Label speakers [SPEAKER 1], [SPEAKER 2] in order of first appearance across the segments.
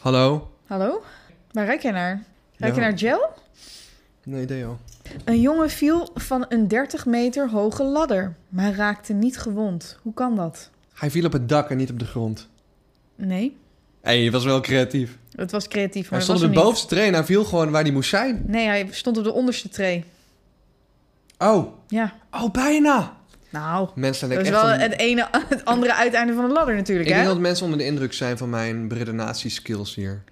[SPEAKER 1] Hallo?
[SPEAKER 2] Hallo? Waar ruik jij naar? Ruik je
[SPEAKER 1] Ja.
[SPEAKER 2] naar gel?
[SPEAKER 1] Nee, Deo.
[SPEAKER 2] Een jongen viel van een 30 meter hoge ladder, maar raakte niet gewond. Hoe kan dat?
[SPEAKER 1] Hij viel op het dak en niet op de grond.
[SPEAKER 2] Nee,
[SPEAKER 1] Hé, je was wel creatief.
[SPEAKER 2] het was creatief, maar
[SPEAKER 1] hij
[SPEAKER 2] het
[SPEAKER 1] stond op
[SPEAKER 2] was
[SPEAKER 1] de
[SPEAKER 2] hem niet.
[SPEAKER 1] bovenste train en hij viel gewoon waar hij moest zijn.
[SPEAKER 2] Nee, hij stond op de onderste tree.
[SPEAKER 1] Oh,
[SPEAKER 2] Ja.
[SPEAKER 1] oh, bijna.
[SPEAKER 2] Nou,
[SPEAKER 1] Mensen zijn
[SPEAKER 2] dat is
[SPEAKER 1] echt...
[SPEAKER 2] wel
[SPEAKER 1] on-
[SPEAKER 2] het ene het andere uiteinde van de ladder natuurlijk,
[SPEAKER 1] Ik
[SPEAKER 2] hè?
[SPEAKER 1] denk dat mensen onder de indruk zijn van mijn redenatieskills hier.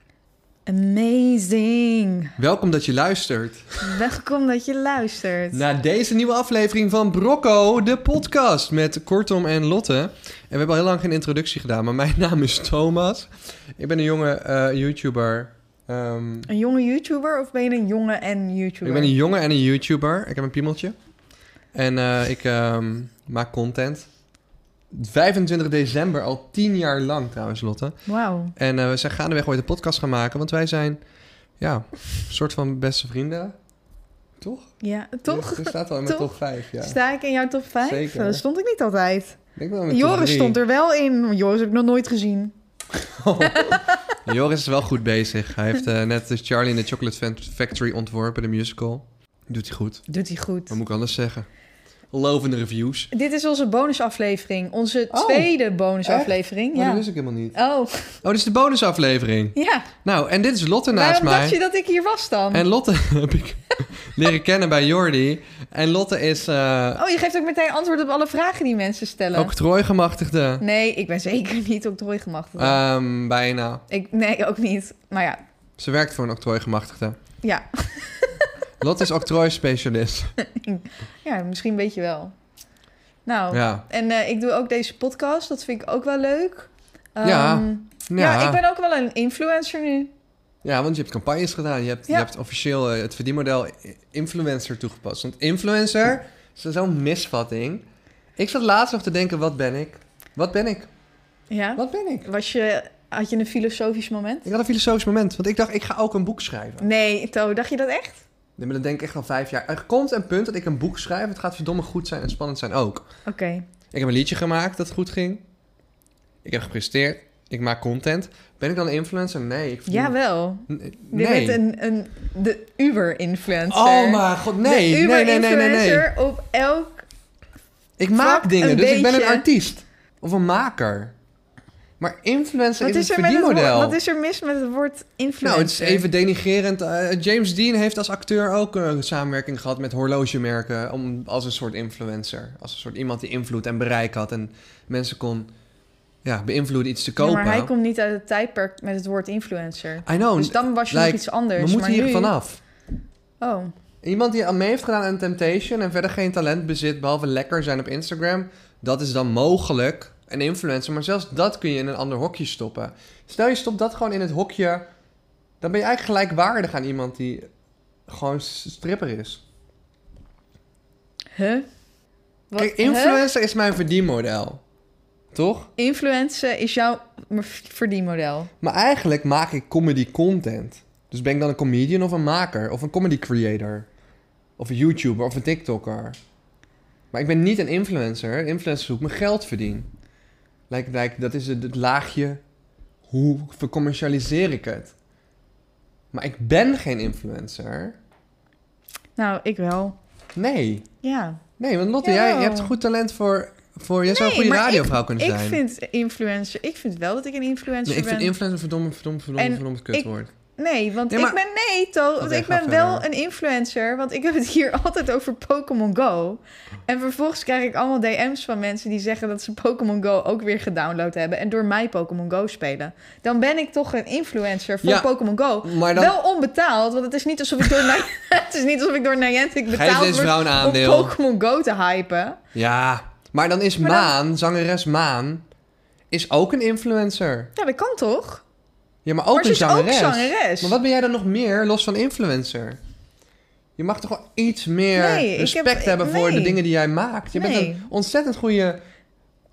[SPEAKER 2] Amazing.
[SPEAKER 1] Welkom dat je luistert
[SPEAKER 2] Welkom dat je luistert.
[SPEAKER 1] naar deze nieuwe aflevering van Brocco, de podcast met Kortom en Lotte. En we hebben al heel lang geen introductie gedaan, maar mijn naam is Thomas. Ik ben een jonge eh, YouTuber. Ehm,
[SPEAKER 2] Een jonge YouTuber of ben je een jonge en YouTuber?
[SPEAKER 1] Ik ben een jongen en een YouTuber. Ik heb een piemeltje. En eh, ik ehm, maak content. 25 december, al 10 jaar lang trouwens, Lotte.
[SPEAKER 2] Wauw.
[SPEAKER 1] En eh, we zijn gaandeweg ooit een podcast gaan maken, want wij zijn, ja, een soort van beste vrienden. Toch?
[SPEAKER 2] Ja, toch?
[SPEAKER 1] Er staat al in mijn
[SPEAKER 2] Toch?
[SPEAKER 1] top 5, ja.
[SPEAKER 2] Sta ik in jouw top 5?
[SPEAKER 1] Zeker.
[SPEAKER 2] Dat stond ik niet altijd.
[SPEAKER 1] Ik denk wel in mijn top
[SPEAKER 2] Joris
[SPEAKER 1] drie.
[SPEAKER 2] stond er wel in. want Joris heb ik nog nooit gezien.
[SPEAKER 1] Oh. Joris is wel goed bezig. Hij heeft eh, net de Charlie in the Chocolate Fan- Factory ontworpen, de musical. Doet hij goed.
[SPEAKER 2] Doet hij goed.
[SPEAKER 1] Wat moet ik anders zeggen? Lovende reviews.
[SPEAKER 2] Dit is onze bonusaflevering. Onze
[SPEAKER 1] Oh,
[SPEAKER 2] tweede bonusaflevering.
[SPEAKER 1] Maar dat
[SPEAKER 2] Ja.
[SPEAKER 1] wist ik helemaal niet.
[SPEAKER 2] Oh,
[SPEAKER 1] Oh, dit is de bonusaflevering.
[SPEAKER 2] ja.
[SPEAKER 1] Nou, en dit is Lotte naast
[SPEAKER 2] Waarom
[SPEAKER 1] mij.
[SPEAKER 2] dacht je dat ik hier was dan?
[SPEAKER 1] En Lotte heb ik leren kennen bij Jordi. En Lotte is eh,
[SPEAKER 2] Oh, je geeft ook meteen octrooi op alle vragen die mensen stellen.
[SPEAKER 1] ook trooigemachtigde.
[SPEAKER 2] Nee, ik ben zeker niet octrooigemachtigd.
[SPEAKER 1] Ehm, bijna.
[SPEAKER 2] ik, nee, ook niet. Maar ja,
[SPEAKER 1] Ze werkt voor een octrooigemachtigde.
[SPEAKER 2] ja.
[SPEAKER 1] Lotte is octrooispecialist.
[SPEAKER 2] ja misschien weet je wel. Nou,
[SPEAKER 1] Ja.
[SPEAKER 2] en eh, ik doe ook deze podcast. Dat vind ik ook wel leuk.
[SPEAKER 1] Ja.
[SPEAKER 2] Ehm,
[SPEAKER 1] Ja.
[SPEAKER 2] ja,
[SPEAKER 1] Ja,
[SPEAKER 2] ik ben ook wel een influencer nu.
[SPEAKER 1] want je hebt campagnes gedaan. Je hebt,
[SPEAKER 2] Ja.
[SPEAKER 1] je hebt officieel eh, het verdienmodel influencer toegepast. Want influencer is zo'n misvatting. Ik zat laatst nog te denken, wat ben ik? Wat ben ik?
[SPEAKER 2] Ja.
[SPEAKER 1] Wat ben ik?
[SPEAKER 2] Was je, had je een filosofisch moment?
[SPEAKER 1] Ik had een filosofisch moment, want ik dacht, ik ga ook een boek schrijven.
[SPEAKER 2] Nee, To, dacht je dat echt?
[SPEAKER 1] Nee, maar dat denk ik echt al vijf jaar. Er komt een punt dat ik een boek schrijf. Het gaat verdomme goed zijn en spannend zijn ook.
[SPEAKER 2] Oké.
[SPEAKER 1] Ik heb een liedje gemaakt dat goed ging. Ik heb gepresteerd. Ik maak content. Ben ik dan een influencer? Nee. Ik verdien-
[SPEAKER 2] Jawel.
[SPEAKER 1] N-
[SPEAKER 2] Je
[SPEAKER 1] Nee.
[SPEAKER 2] bent een, een, de Uber-influencer.
[SPEAKER 1] Oh mijn god, nee.
[SPEAKER 2] de
[SPEAKER 1] Nee, nee, nee, nee, nee.
[SPEAKER 2] Uber-influencer op elk...
[SPEAKER 1] Ik maak
[SPEAKER 2] Fuck,
[SPEAKER 1] dingen,
[SPEAKER 2] een
[SPEAKER 1] dus ik ben een
[SPEAKER 2] beetje.
[SPEAKER 1] artiest. Of een maker. Maar influencer
[SPEAKER 2] Wat
[SPEAKER 1] is,
[SPEAKER 2] is,
[SPEAKER 1] het
[SPEAKER 2] er met het woord,
[SPEAKER 1] verdienmodel.
[SPEAKER 2] wat is er mis met het woord
[SPEAKER 1] nou,
[SPEAKER 2] influencer?
[SPEAKER 1] het is even denigerend. Eh, James Dean heeft als acteur ook een samenwerking gehad met horlogemerken. Om, als een soort influencer. Als een soort iemand die invloed en bereik had. En mensen kon ja, beïnvloeden iets te
[SPEAKER 2] Ja,
[SPEAKER 1] kopen.
[SPEAKER 2] maar hij komt niet uit het tijdperk met het woord influencer.
[SPEAKER 1] I know.
[SPEAKER 2] dus dan was je
[SPEAKER 1] like,
[SPEAKER 2] nog iets anders.
[SPEAKER 1] we moeten
[SPEAKER 2] maar
[SPEAKER 1] hier
[SPEAKER 2] nu...
[SPEAKER 1] vanaf.
[SPEAKER 2] Oh,
[SPEAKER 1] Iemand die aan mee heeft gedaan aan Temptation en verder geen talent bezit, behalve lekker zijn op Instagram, dat is dan mogelijk een influencer. Maar zelfs dat kun je in een ander hokje stoppen. Stel je stopt dat gewoon in het hokje, dan ben je eigenlijk gelijkwaardig aan iemand die gewoon s- stripper is.
[SPEAKER 2] huh? Wat,
[SPEAKER 1] Kijk,
[SPEAKER 2] huh?
[SPEAKER 1] influencer is mijn verdienmodel. Toch?
[SPEAKER 2] Influencer is jouw verdienmodel.
[SPEAKER 1] Maar eigenlijk maak ik comedy content. Dus ben ik dan een comedian of een maker of een comedy creator? Of een YouTuber of een TikToker? Maar ik ben niet een influencer. Een influencer zoekt mijn geld verdienen. Like, like, dat is het, het laagje. Hoe vercommercialiseer ik het? Maar ik ben geen influencer.
[SPEAKER 2] Nou, ik wel.
[SPEAKER 1] Nee.
[SPEAKER 2] Ja.
[SPEAKER 1] Nee, want Lotte, jij,
[SPEAKER 2] Jawel.
[SPEAKER 1] jij hebt goed talent voor... voor jij zou een
[SPEAKER 2] Nee,
[SPEAKER 1] goede
[SPEAKER 2] maar
[SPEAKER 1] radiovrouw kunnen
[SPEAKER 2] Ik
[SPEAKER 1] zijn.
[SPEAKER 2] vind influencer... Ik vind wel dat ik een influencer
[SPEAKER 1] nee, ik
[SPEAKER 2] ben.
[SPEAKER 1] vind influencer verdomme, verdomme, verdomme,
[SPEAKER 2] En
[SPEAKER 1] verdomme kutwoord.
[SPEAKER 2] Nee, want
[SPEAKER 1] Nee, maar-
[SPEAKER 2] ik ben nee, To. Want
[SPEAKER 1] Oké,
[SPEAKER 2] ik
[SPEAKER 1] ga
[SPEAKER 2] ben wel
[SPEAKER 1] verder.
[SPEAKER 2] een influencer. Want ik heb het hier altijd over Pokémon Go. En vervolgens krijg ik allemaal DM's van mensen die zeggen dat ze Pokémon Go ook weer gedownload hebben. En door mij Pokémon Go spelen. Dan ben ik toch een influencer voor
[SPEAKER 1] Ja,
[SPEAKER 2] Pokémon Go.
[SPEAKER 1] Maar dan
[SPEAKER 2] Wel onbetaald, want het is niet alsof ik door, Ni- het is niet alsof ik door Niantic
[SPEAKER 1] geef
[SPEAKER 2] betaald
[SPEAKER 1] deze
[SPEAKER 2] word
[SPEAKER 1] vrouw een
[SPEAKER 2] om
[SPEAKER 1] aandeel.
[SPEAKER 2] Pokémon Go te hypen.
[SPEAKER 1] Ja, maar dan is
[SPEAKER 2] Maar dan-
[SPEAKER 1] Maan, zangeres Maan, is ook een influencer.
[SPEAKER 2] Ja, dat kan toch?
[SPEAKER 1] Ja, maar ook
[SPEAKER 2] maar ze
[SPEAKER 1] een
[SPEAKER 2] is
[SPEAKER 1] zangeres.
[SPEAKER 2] ook zangeres.
[SPEAKER 1] Maar wat ben jij dan nog meer, los van influencer? Je mag toch wel iets meer
[SPEAKER 2] Nee, ik
[SPEAKER 1] respect
[SPEAKER 2] heb-
[SPEAKER 1] hebben voor
[SPEAKER 2] nee.
[SPEAKER 1] de dingen die jij maakt. Je bent
[SPEAKER 2] Nee.
[SPEAKER 1] een ontzettend goede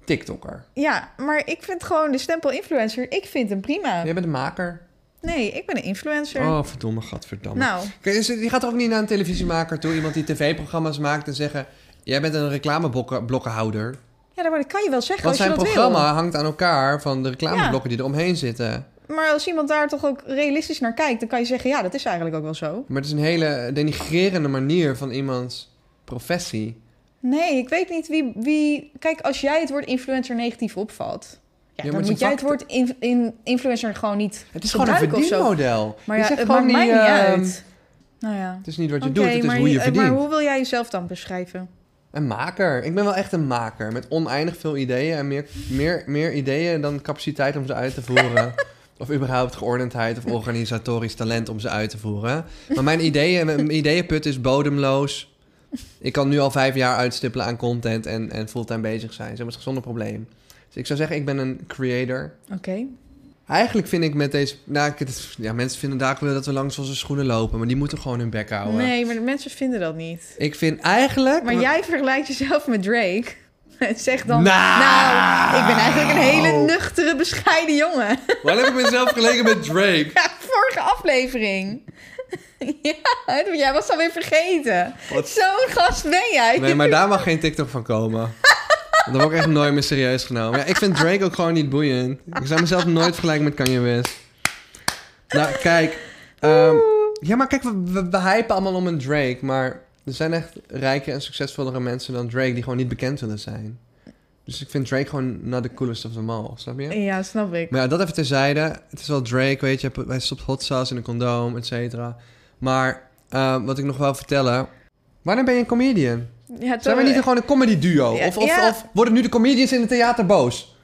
[SPEAKER 1] TikToker.
[SPEAKER 2] Ja, maar ik vind gewoon de stempel influencer, ik vind hem prima.
[SPEAKER 1] Jij bent een maker.
[SPEAKER 2] Nee, ik ben een influencer.
[SPEAKER 1] Oh, verdomme, gadverdamme.
[SPEAKER 2] Nou,
[SPEAKER 1] Kijk, is- je gaat toch ook niet naar een televisiemaker toe, iemand die tv-programma's maakt en zeggen... Jij bent een reclameblokkenhouder.
[SPEAKER 2] ja, dat kan je wel zeggen
[SPEAKER 1] Want
[SPEAKER 2] als je
[SPEAKER 1] zijn
[SPEAKER 2] dat
[SPEAKER 1] programma
[SPEAKER 2] wil.
[SPEAKER 1] hangt aan elkaar van de reclameblokken die eromheen zitten.
[SPEAKER 2] maar als iemand daar toch ook realistisch naar kijkt, dan kan je zeggen, ja, dat is eigenlijk ook wel zo.
[SPEAKER 1] Maar het is een hele denigrerende manier van iemands professie.
[SPEAKER 2] Nee, ik weet niet wie... wie... Kijk, als jij het woord influencer negatief opvalt...
[SPEAKER 1] Ja,
[SPEAKER 2] Ja,
[SPEAKER 1] maar het is
[SPEAKER 2] dan moet
[SPEAKER 1] een
[SPEAKER 2] jij het
[SPEAKER 1] vak-
[SPEAKER 2] woord in, in- influencer gewoon niet
[SPEAKER 1] Het is gewoon een
[SPEAKER 2] gebruiken of zo.
[SPEAKER 1] verdienmodel.
[SPEAKER 2] Maar
[SPEAKER 1] Je
[SPEAKER 2] ja,
[SPEAKER 1] zegt
[SPEAKER 2] het maakt
[SPEAKER 1] gewoon
[SPEAKER 2] mij
[SPEAKER 1] die,
[SPEAKER 2] niet
[SPEAKER 1] ehm,
[SPEAKER 2] uit. Nou ja.
[SPEAKER 1] Het is niet wat je
[SPEAKER 2] Oké,
[SPEAKER 1] doet, het is
[SPEAKER 2] maar
[SPEAKER 1] hoe je
[SPEAKER 2] eh,
[SPEAKER 1] verdient.
[SPEAKER 2] Maar hoe wil jij jezelf dan beschrijven?
[SPEAKER 1] Een maker. Ik ben wel echt een maker. Met oneindig veel ideeën en meer, meer, meer ideeën dan capaciteit om ze uit te voeren. of überhaupt geordendheid of organisatorisch talent om ze uit te voeren. Maar mijn, ideeën, mijn ideeënput is bodemloos. Ik kan nu al vijf jaar uitstippelen aan content en, en fulltime bezig zijn. Zeg maar, het is zonder probleem. Dus ik zou zeggen, ik ben een creator.
[SPEAKER 2] Oké.
[SPEAKER 1] Eigenlijk vind ik met deze... Nou, ik- het is- ja, mensen vinden daar wel dat we langs onze schoenen lopen. Maar die moeten gewoon hun bek houden.
[SPEAKER 2] Nee, maar de mensen vinden dat niet.
[SPEAKER 1] Ik vind eigenlijk...
[SPEAKER 2] Maar jij vergelijkt jezelf met Drake. En zegt dan...
[SPEAKER 1] Nou.
[SPEAKER 2] nou, ik ben eigenlijk een hele nuchtere, bescheiden jongen.
[SPEAKER 1] Waarom heb ik mezelf geleken met Drake?
[SPEAKER 2] Ja, vorige aflevering. ja, jij was alweer vergeten.
[SPEAKER 1] Wat?
[SPEAKER 2] Zo'n gast ben jij.
[SPEAKER 1] Nee, maar daar mag geen TikTok van komen. Dan word ik echt nooit meer serieus genomen. Ja, ik vind Drake ook gewoon niet boeiend. Ik zou mezelf nooit vergelijken met Kanye West. Nou, kijk. ehm, ja, maar kijk, we, we, we hypen allemaal om een Drake. Maar er zijn echt rijke en succesvollere mensen dan Drake... die gewoon niet bekend willen zijn. Dus ik vind Drake gewoon not the coolest of them all. Snap je?
[SPEAKER 2] Ja, snap ik.
[SPEAKER 1] Maar ja, dat even terzijde. Het is wel Drake, weet je. Hij stopt hot sauce in een condoom, et cetera. Maar eh, wat ik nog wil vertellen... Wanneer ben je een comedian?
[SPEAKER 2] Ja,
[SPEAKER 1] Zijn we niet gewoon een comedy duo?
[SPEAKER 2] Ja,
[SPEAKER 1] of, of,
[SPEAKER 2] ja.
[SPEAKER 1] of worden nu de comedians in het theater boos?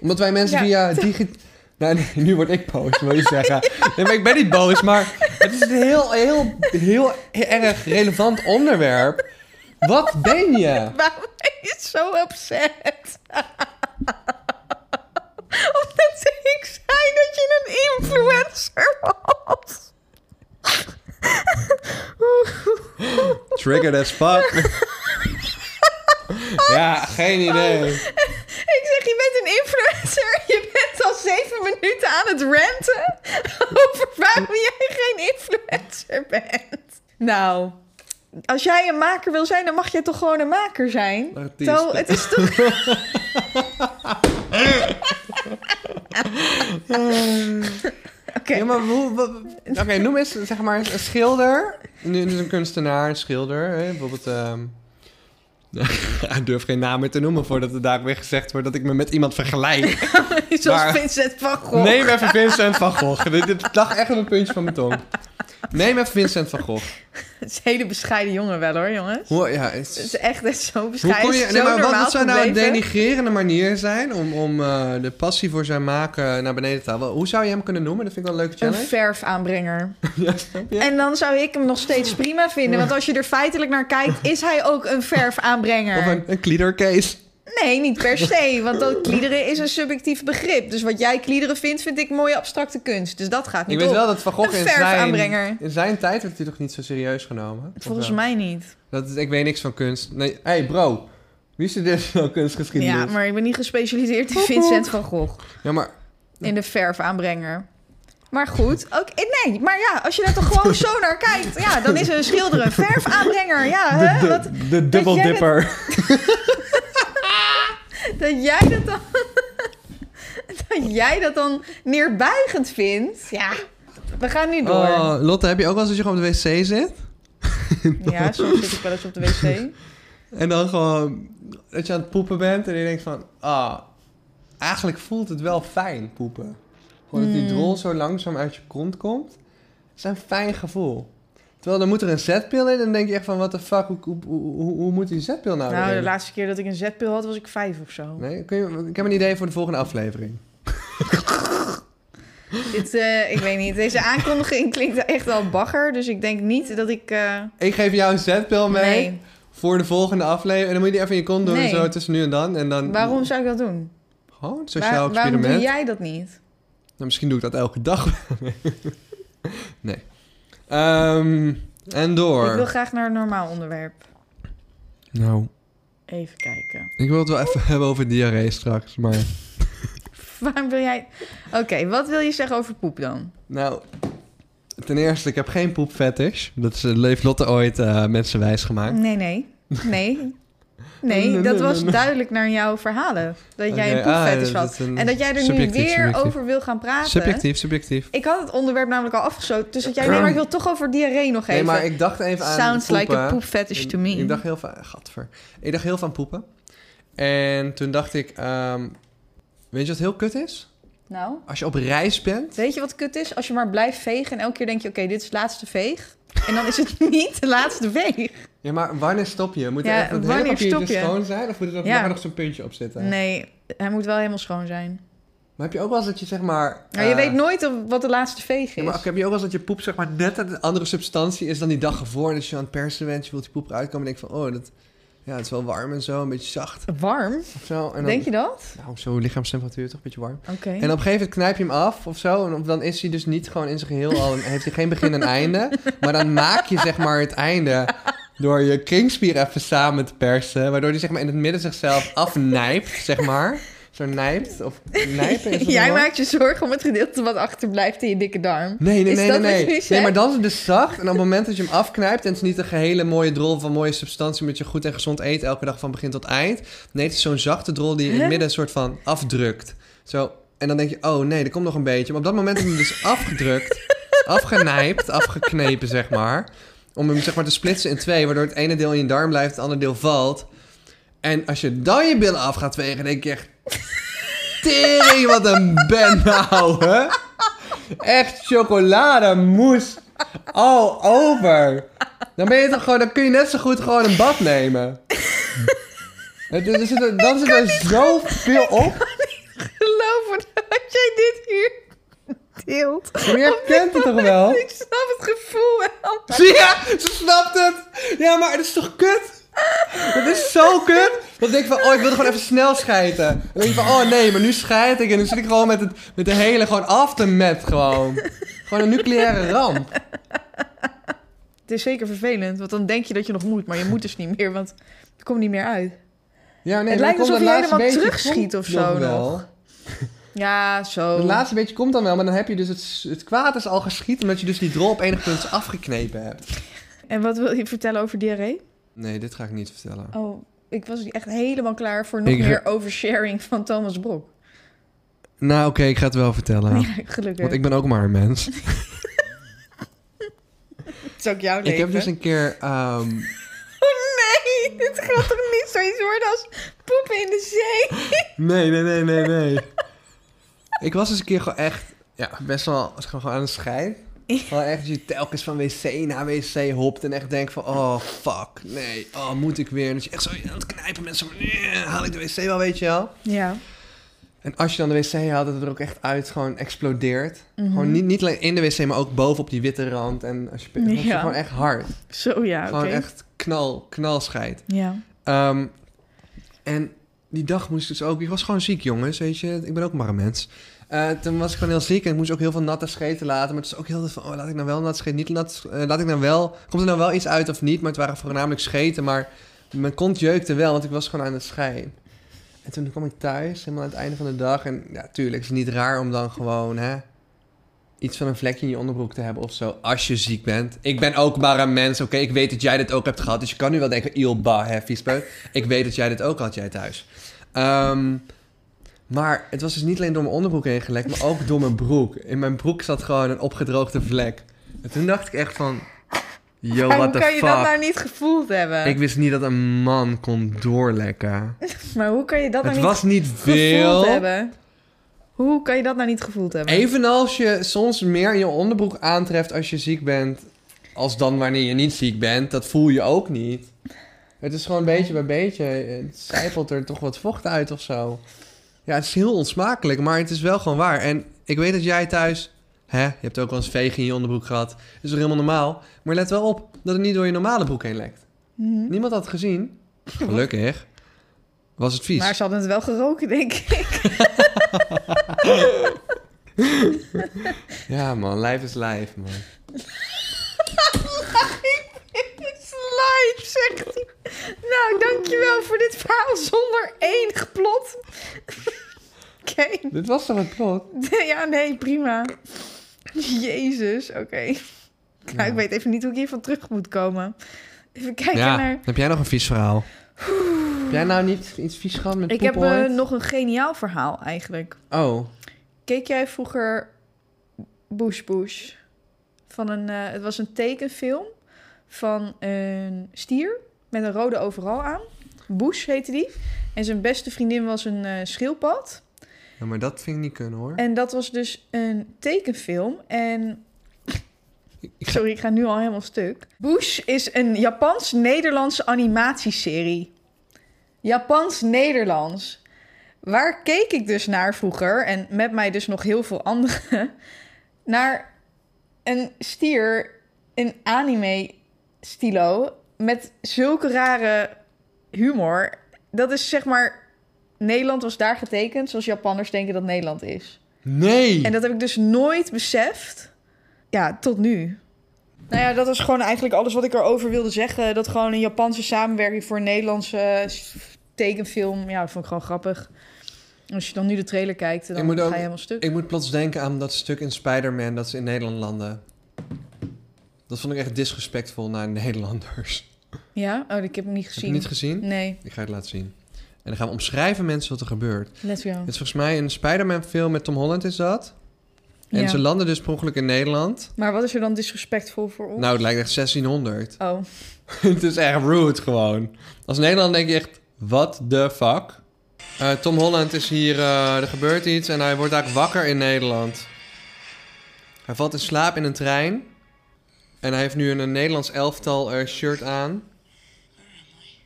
[SPEAKER 1] Omdat wij mensen via
[SPEAKER 2] Ja,
[SPEAKER 1] digi... Nou, nee, nu word ik boos, wil je zeggen. Nee, maar ik ben niet boos, maar het is een heel, heel, heel erg relevant onderwerp. Wat ben je?
[SPEAKER 2] Waarom ben je zo upset? Omdat ik zei dat je een influencer was.
[SPEAKER 1] Triggered as fuck. Ja, geen idee.
[SPEAKER 2] Ik zeg, je bent een influencer. Je bent al zeven minuten aan het ranten over waarom jij geen influencer bent. Nou, als jij een maker wil zijn, dan mag jij toch gewoon een maker zijn?
[SPEAKER 1] Artiest.
[SPEAKER 2] Zo, het is toch... Oké.
[SPEAKER 1] Ja, maar hoe... wat- Oké, noem eens, zeg maar, eens een schilder. Nu nu is een kunstenaar, een schilder. Hè? Bijvoorbeeld... ehm, ik durf geen naam meer te noemen voordat er daar weer gezegd wordt dat ik me met iemand vergelijk.
[SPEAKER 2] Zoals
[SPEAKER 1] Maar-
[SPEAKER 2] Vincent van Gogh.
[SPEAKER 1] Neem even Vincent van Gogh. Dit, dit lag echt op een puntje van mijn tong. Neem even Vincent van Gogh.
[SPEAKER 2] Het is een hele bescheiden jongen wel hoor, jongens.
[SPEAKER 1] Hoe, ja,
[SPEAKER 2] Het
[SPEAKER 1] is,
[SPEAKER 2] is echt net zo
[SPEAKER 1] hoe
[SPEAKER 2] bescheiden.
[SPEAKER 1] kon je,
[SPEAKER 2] Het is
[SPEAKER 1] nee,
[SPEAKER 2] zo
[SPEAKER 1] maar wat,
[SPEAKER 2] normaal
[SPEAKER 1] wat zou nou een
[SPEAKER 2] gebleven.
[SPEAKER 1] denigrerende manier zijn om, om eh, de passie voor zijn maken naar beneden te halen? Hoe zou je hem kunnen noemen? Dat vind ik wel een leuke
[SPEAKER 2] Een
[SPEAKER 1] challenge.
[SPEAKER 2] verfaanbrenger.
[SPEAKER 1] Ja, snap je?
[SPEAKER 2] En dan zou ik hem nog steeds prima vinden. Want als je er feitelijk naar kijkt, is hij ook een verfaanbrenger.
[SPEAKER 1] Of een, een kliedercase.
[SPEAKER 2] Nee, niet per se. Want dat kliederen is een subjectief begrip. Dus wat jij kliederen vindt, vind ik mooie abstracte kunst. Dus dat gaat
[SPEAKER 1] Ik
[SPEAKER 2] niet
[SPEAKER 1] weet
[SPEAKER 2] op.
[SPEAKER 1] wel dat Van Gogh
[SPEAKER 2] Een
[SPEAKER 1] in zijn,
[SPEAKER 2] verfaanbrenger.
[SPEAKER 1] in zijn tijd werd hij toch niet zo serieus genomen? Of
[SPEAKER 2] Volgens
[SPEAKER 1] wel?
[SPEAKER 2] mij niet.
[SPEAKER 1] Dat is, ik weet niks van kunst. Nee, hé hey bro, wie studeert nou kunstgeschiedenis?
[SPEAKER 2] Ja, maar ik ben niet gespecialiseerd in Vincent van Gogh.
[SPEAKER 1] Ja, maar
[SPEAKER 2] In de verfaanbrenger. Maar goed, ook, eh, nee, maar ja, als je er toch gewoon zo naar kijkt, ja, dan is een schilder een verfaanbrenger. Ja, hè? Eh, Wat,
[SPEAKER 1] de, de, de
[SPEAKER 2] jij het-
[SPEAKER 1] dubbeldipper.
[SPEAKER 2] dat jij dat dan. dat jij dat dan neerbuigend vindt. Ja, we gaan nu door.
[SPEAKER 1] Oh, Lotte, heb je ook wel eens dat je gewoon op de wc zit?
[SPEAKER 2] Ja, soms zit ik wel eens op de wc.
[SPEAKER 1] En dan gewoon dat je aan het poepen bent en je denkt van... Ah, eigenlijk voelt het wel fijn, poepen. Gewoon dat
[SPEAKER 2] Hmm.
[SPEAKER 1] die drol zo langzaam uit je kont komt. Dat is een fijn gevoel. Terwijl dan moet er een zetpil in en dan denk je echt van... What the fuck, hoe, hoe, hoe, hoe moet die zetpil nou
[SPEAKER 2] Nou, de
[SPEAKER 1] erin?
[SPEAKER 2] laatste keer dat ik een zetpil had, was ik vijf of zo.
[SPEAKER 1] Nee, kun je, ik heb een idee voor de volgende aflevering.
[SPEAKER 2] Dit, eh, ik weet niet, deze aankondiging klinkt echt wel bagger. Dus ik denk niet dat ik. eh,
[SPEAKER 1] Ik geef jou een zetpil mee
[SPEAKER 2] nee,
[SPEAKER 1] voor de volgende aflevering. En dan moet je die even in je kont doen
[SPEAKER 2] Nee.
[SPEAKER 1] en zo tussen nu en dan. En dan
[SPEAKER 2] waarom zou ik dat doen?
[SPEAKER 1] Gewoon een
[SPEAKER 2] Waar-
[SPEAKER 1] sociaal
[SPEAKER 2] waarom
[SPEAKER 1] experiment.
[SPEAKER 2] doe jij dat niet?
[SPEAKER 1] Nou, misschien doe ik dat elke dag. nee. Ehm, en door.
[SPEAKER 2] Ik wil graag naar een normaal onderwerp.
[SPEAKER 1] Nou,
[SPEAKER 2] Even kijken.
[SPEAKER 1] ik wil het wel even hebben over diarree straks. Maar...
[SPEAKER 2] Waarom wil jij... Oké, wat wil je zeggen over poep dan?
[SPEAKER 1] Nou, ten eerste, ik heb geen poepfetish. Dat is, eh, heeft Lotte ooit eh, mensen wijsgemaakt.
[SPEAKER 2] Nee, nee. Nee. Nee,
[SPEAKER 1] Nee,
[SPEAKER 2] dat
[SPEAKER 1] nee,
[SPEAKER 2] was
[SPEAKER 1] nee, nee.
[SPEAKER 2] duidelijk naar jouw verhalen. Dat jij
[SPEAKER 3] Oké,
[SPEAKER 2] een poepfetish
[SPEAKER 3] ah,
[SPEAKER 2] had.
[SPEAKER 3] is een
[SPEAKER 2] En dat jij er nu
[SPEAKER 3] subjectief,
[SPEAKER 2] weer
[SPEAKER 3] subjectief.
[SPEAKER 2] over wil gaan praten.
[SPEAKER 3] Subjectief, subjectief.
[SPEAKER 2] Ik had het onderwerp namelijk al afgesloten. Dus dat jij, nee, maar ik wil toch over diarree nog
[SPEAKER 1] Ehm. Nee,
[SPEAKER 2] even.
[SPEAKER 1] maar ik dacht even aan
[SPEAKER 2] Sounds like a
[SPEAKER 1] poepen.
[SPEAKER 2] poop fetish
[SPEAKER 1] Ik-
[SPEAKER 2] to me.
[SPEAKER 1] Ik dacht heel veel aan... Gadver. Ik dacht heel veel aan poepen. En toen dacht ik... ehm, weet je wat heel kut is?
[SPEAKER 2] Nou,
[SPEAKER 1] Als je op reis bent...
[SPEAKER 2] weet je wat kut is? Als je maar blijft vegen en elke keer denk je... oké, dit is de laatste veeg. En dan is het niet de laatste veeg.
[SPEAKER 1] Ja, maar wanneer stop je? Moet
[SPEAKER 2] Ja,
[SPEAKER 1] er echt het hele
[SPEAKER 2] wanneer
[SPEAKER 1] papier
[SPEAKER 2] stop
[SPEAKER 1] dus
[SPEAKER 2] je?
[SPEAKER 1] schoon zijn? Of moet er ook
[SPEAKER 2] Ja.
[SPEAKER 1] nog- nog zo'n puntje op zitten?
[SPEAKER 2] Nee, hij moet wel helemaal schoon zijn.
[SPEAKER 1] Maar heb je ook wel eens dat je zeg maar...
[SPEAKER 2] Maar je
[SPEAKER 1] eh,
[SPEAKER 2] weet nooit of- wat de laatste veeg is.
[SPEAKER 1] Ja, maar oké, heb je ook wel eens dat je poep zeg maar net een andere substantie is dan die dag ervoor. Dus je aan het persen bent, je wilt die poep eruit komen en denk van... Oh, dat, ja, het is wel warm en zo, een beetje zacht
[SPEAKER 2] Warm?
[SPEAKER 1] of zo. En dan,
[SPEAKER 2] Denk je dat?
[SPEAKER 1] Nou, op zo'n lichaamstemperatuur toch een beetje warm.
[SPEAKER 2] Oké.
[SPEAKER 1] En op een gegeven moment knijp je hem af of zo. En dan is hij dus niet gewoon in zijn geheel al... heeft hij geen begin en einde. Maar dan maak je zeg maar het einde... Door je kringspier even samen te persen. Waardoor hij zeg maar in het midden zichzelf afnijpt, zeg maar. Zo nijpt. Of nijpen is het
[SPEAKER 2] Jij
[SPEAKER 1] een woord?
[SPEAKER 2] maakt je zorgen om het gedeelte wat achterblijft in je dikke darm.
[SPEAKER 1] Nee, nee,
[SPEAKER 2] Is
[SPEAKER 1] nee,
[SPEAKER 2] dat
[SPEAKER 1] nee.
[SPEAKER 2] wat je
[SPEAKER 1] Nee.
[SPEAKER 2] nu
[SPEAKER 1] nee,
[SPEAKER 2] zegt?
[SPEAKER 1] maar dan is het dus zacht. En op het moment dat je hem afknijpt... en het is niet een gehele mooie drol van mooie substantie... met je goed en gezond eet elke dag van begin tot eind. Nee, het is zo'n zachte drol die je in het
[SPEAKER 2] Hè?
[SPEAKER 1] midden een soort van afdrukt. Zo. En dan denk je, oh nee, er komt nog een beetje. Maar op dat moment heb je hem dus afgedrukt, afgenijpt, afgeknepen, zeg maar. Om hem zeg maar te splitsen in twee, waardoor het ene deel in je darm blijft, het andere deel valt. En als je dan je billen af gaat wegen, denk je echt... Tering, wat een ben nou, hè? Echt chocolademousse all over. Dan ben je toch gewoon, dan kun je net zo goed gewoon een bad nemen. Het is- dus er zit er- Dan zit er zoveel op.
[SPEAKER 2] geloof me dat jij dit hier deelt.
[SPEAKER 1] Maar jij kent het toch wel?
[SPEAKER 2] Ik snap het gevoel wel.
[SPEAKER 1] Zie je? Ze snapt het. Ja, maar het is toch kut? Het is zo kut. Dan denk ik van, oh, ik wilde gewoon even snel schijten. Dan denk je van, oh nee, maar nu schijt ik. En dan zit ik gewoon met, het, met de hele, gewoon aftermath gewoon. Gewoon een nucleaire ramp.
[SPEAKER 2] Het is zeker vervelend, want dan denk je dat je nog moet, maar je moet dus niet meer, want het komt niet meer uit.
[SPEAKER 1] Ja, nee, dan
[SPEAKER 2] Het lijkt
[SPEAKER 1] komt
[SPEAKER 2] alsof
[SPEAKER 1] dat
[SPEAKER 2] je
[SPEAKER 1] laatste
[SPEAKER 2] helemaal
[SPEAKER 1] beetje
[SPEAKER 2] terugschiet
[SPEAKER 1] komt
[SPEAKER 2] of zo
[SPEAKER 1] wel.
[SPEAKER 2] Ja, zo.
[SPEAKER 1] Het laatste beetje komt dan wel, maar dan heb je dus het, het kwaad is al geschiet... omdat je dus die drol op enig punt afgeknepen hebt.
[SPEAKER 2] En wat wil je vertellen over diarree?
[SPEAKER 1] Nee, dit ga ik niet vertellen.
[SPEAKER 2] Oh, ik was echt helemaal klaar voor nog
[SPEAKER 1] Ik-
[SPEAKER 2] meer oversharing van Thomas Brok.
[SPEAKER 1] Nou, oké, ik ga het wel vertellen.
[SPEAKER 2] Ja, gelukkig.
[SPEAKER 1] Want ik ben ook maar een mens.
[SPEAKER 2] Het is ook jouw leven.
[SPEAKER 1] Ik heb dus een keer... ehm,
[SPEAKER 2] Oh nee, dit gaat toch niet zoiets worden als poepen in de zee?
[SPEAKER 1] Nee, nee, nee, nee, nee. ik was dus een keer gewoon echt... Ja, best wel was gewoon aan de scheid. Gewoon echt dat je telkens van wc naar wc hopt en echt denkt van... Oh, fuck, nee. Oh, moet ik weer? En dat je echt zo aan het knijpen met zo'n... "Nee, Haal ik de wc wel, weet je wel?
[SPEAKER 2] Ja.
[SPEAKER 1] En als je dan de wc haalt, dat het er ook echt uit gewoon explodeert.
[SPEAKER 2] Mhm.
[SPEAKER 1] Gewoon niet, niet alleen in de wc, maar ook bovenop die witte rand. En als je, dat is
[SPEAKER 2] Ja.
[SPEAKER 1] gewoon echt hard.
[SPEAKER 2] Zo ja, oké.
[SPEAKER 1] Gewoon echt knal, knalscheid.
[SPEAKER 2] Ja.
[SPEAKER 1] Ehm, en die dag moest ik dus ook... Ik was gewoon ziek, jongens, weet je. Ik ben ook maar een mens. Eh, toen was ik gewoon heel ziek en ik moest ook heel veel natte scheten laten. Maar het was ook heel veel van... Oh, laat ik nou wel nat scheten, niet nat... eh, laat ik nou wel... Komt er nou wel iets uit of niet? Maar het waren voornamelijk scheten. Maar mijn kont jeukte wel, want ik was gewoon aan het schijn. En toen kwam ik thuis, helemaal aan het einde van de dag. En ja, tuurlijk, het is niet raar om dan gewoon, hè... Iets van een vlekje in je onderbroek te hebben of zo. Als je ziek bent. Ik ben ook maar een mens, oké? Ik weet dat jij dit ook hebt gehad. Dus je kan nu wel denken, ilba, hè, viespeuk. Ik weet dat jij dit ook had, jij thuis. Ehm, maar het was dus niet alleen door mijn onderbroek heen gelekt, maar ook door mijn broek. In mijn broek zat gewoon een opgedroogde vlek. En toen dacht ik echt van... Yo,
[SPEAKER 2] Maar
[SPEAKER 1] what
[SPEAKER 2] hoe
[SPEAKER 1] the
[SPEAKER 2] kan je dat nou
[SPEAKER 1] fuck?
[SPEAKER 2] niet gevoeld hebben?
[SPEAKER 1] Ik wist niet dat een man kon doorlekken.
[SPEAKER 2] Maar hoe kan je dat nou
[SPEAKER 1] Het
[SPEAKER 2] niet
[SPEAKER 1] was niet
[SPEAKER 2] gevoeld
[SPEAKER 1] veel.
[SPEAKER 2] hebben? Hoe kan je dat nou niet gevoeld hebben?
[SPEAKER 1] Evenals je soms meer in je onderbroek aantreft als je ziek bent, als dan wanneer je niet ziek bent. Dat voel je ook niet. Het is gewoon beetje bij beetje, het sijpelt er toch wat vocht uit of zo. Ja, het is heel onsmakelijk, maar het is wel gewoon waar. En ik weet dat jij thuis, hè, je hebt ook wel eens vegen in je onderbroek gehad. Dat is toch helemaal normaal? Maar let wel op dat het niet door je normale broek heen lekt.
[SPEAKER 2] Mhm.
[SPEAKER 1] Niemand had het gezien. Gelukkig. Was het vies.
[SPEAKER 2] Maar ze hadden het wel geroken, denk ik.
[SPEAKER 1] Ja man, lijf is lijf man.
[SPEAKER 2] Slime, zegt hij. Nou, dankjewel voor dit verhaal zonder enig plot. Oké.
[SPEAKER 1] Dit was toch het plot?
[SPEAKER 2] Ja, nee, prima. Jezus, oké. Nou, ik weet even niet hoe ik hiervan terug moet komen. Even kijken
[SPEAKER 1] ja,
[SPEAKER 2] naar...
[SPEAKER 1] heb jij nog een vies verhaal? Heb jij nou niet iets vies gehad met
[SPEAKER 2] Ik
[SPEAKER 1] poep
[SPEAKER 2] heb eh,
[SPEAKER 1] ooit?
[SPEAKER 2] nog een geniaal verhaal eigenlijk.
[SPEAKER 1] Oh,
[SPEAKER 2] Keek jij vroeger Bush Bush? Van een, eh, het was een tekenfilm van een stier met een rode overal aan. Bush heette die. En zijn beste vriendin was een eh schildpad.
[SPEAKER 1] ja, maar dat vind ik niet kunnen hoor.
[SPEAKER 2] En dat was dus een tekenfilm. En
[SPEAKER 1] Ik ga-
[SPEAKER 2] sorry, ik ga nu al helemaal stuk. Bush is een Japans-Nederlandse animatieserie. Japans-Nederlands. Waar keek ik dus naar vroeger en met mij dus nog heel veel anderen naar een stier in anime stilo met zulke rare humor. Dat is zeg maar Nederland was daar getekend zoals Japanners denken dat Nederland is.
[SPEAKER 1] Nee!
[SPEAKER 2] En dat heb ik dus nooit beseft. Ja, tot nu. Nou ja, dat is gewoon eigenlijk alles wat ik erover wilde zeggen. Dat gewoon een Japanse samenwerking voor een Nederlandse eh, s- tekenfilm. Ja, dat vond ik gewoon grappig. En Als je dan nu de trailer kijkt, dan
[SPEAKER 1] Ik moet
[SPEAKER 2] ga je
[SPEAKER 1] ook-
[SPEAKER 2] helemaal stuk.
[SPEAKER 1] Ik moet plots denken aan dat stuk in Spider-Man dat ze in Nederland landen. Dat vond ik echt disrespectvol naar Nederlanders.
[SPEAKER 2] Ja? Oh, ik heb hem niet
[SPEAKER 1] Heb je
[SPEAKER 2] gezien.
[SPEAKER 1] het niet gezien?
[SPEAKER 2] Nee,
[SPEAKER 1] Ik ga het laten zien. En dan gaan we omschrijven mensen wat er gebeurt.
[SPEAKER 2] let's go.
[SPEAKER 1] Het is volgens mij een Spider-Man film met Tom Holland is dat. En
[SPEAKER 2] Ja.
[SPEAKER 1] ze landen dus per ongeluk in Nederland.
[SPEAKER 2] Maar wat is er dan disrespectvol voor ons?
[SPEAKER 1] Nou, het lijkt echt 1600.
[SPEAKER 2] Oh,
[SPEAKER 1] het is echt rude gewoon. Als Nederland denk je echt, what the fuck? Eh, Tom Holland is hier, eh, er gebeurt iets en hij wordt eigenlijk wakker in Nederland. Hij valt in slaap in een trein. En hij heeft nu een, een Nederlands elftal eh, shirt aan.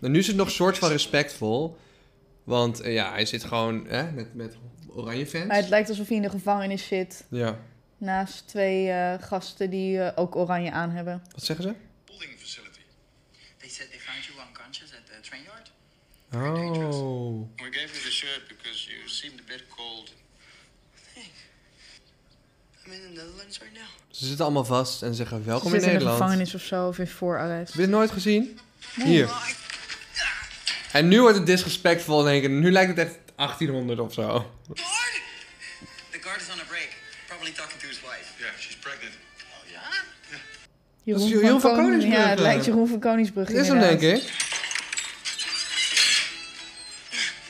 [SPEAKER 1] En nu is het nog soort van respectvol. Want eh, ja, hij zit gewoon hè, met, met oranje fans.
[SPEAKER 2] maar het lijkt alsof hij in de gevangenis zit.
[SPEAKER 1] Ja,
[SPEAKER 2] Naast twee eh, gasten die eh, ook oranje aan hebben.
[SPEAKER 1] wat zeggen ze?
[SPEAKER 3] holding facility.
[SPEAKER 4] They said they found you unconscious at the train yard.
[SPEAKER 1] Oh.
[SPEAKER 3] We gave you the shirt because you seemed a bit cold.
[SPEAKER 4] I'm in the Netherlands right now.
[SPEAKER 1] Ze zitten allemaal vast en zeggen welkom
[SPEAKER 2] Zit
[SPEAKER 1] in
[SPEAKER 2] in de
[SPEAKER 1] Nederland.
[SPEAKER 2] gevangenis of zo, of in voorarrest.
[SPEAKER 1] Heb je dit nooit gezien? Hier. En nu wordt het disrespectvol in één keer. Nu lijkt het echt 1800 of zo.
[SPEAKER 4] Guard! The guard is on a break. Probably talking to his wife.
[SPEAKER 3] Yeah, she's pregnant.
[SPEAKER 4] Oh, yeah?
[SPEAKER 2] Jeroen
[SPEAKER 1] Dat is Jeroen van
[SPEAKER 2] Koning-
[SPEAKER 1] Koningsbrugge.
[SPEAKER 2] Ja, het lijkt Jeroen van Koningsbrug.
[SPEAKER 1] Dit is hem denk ik.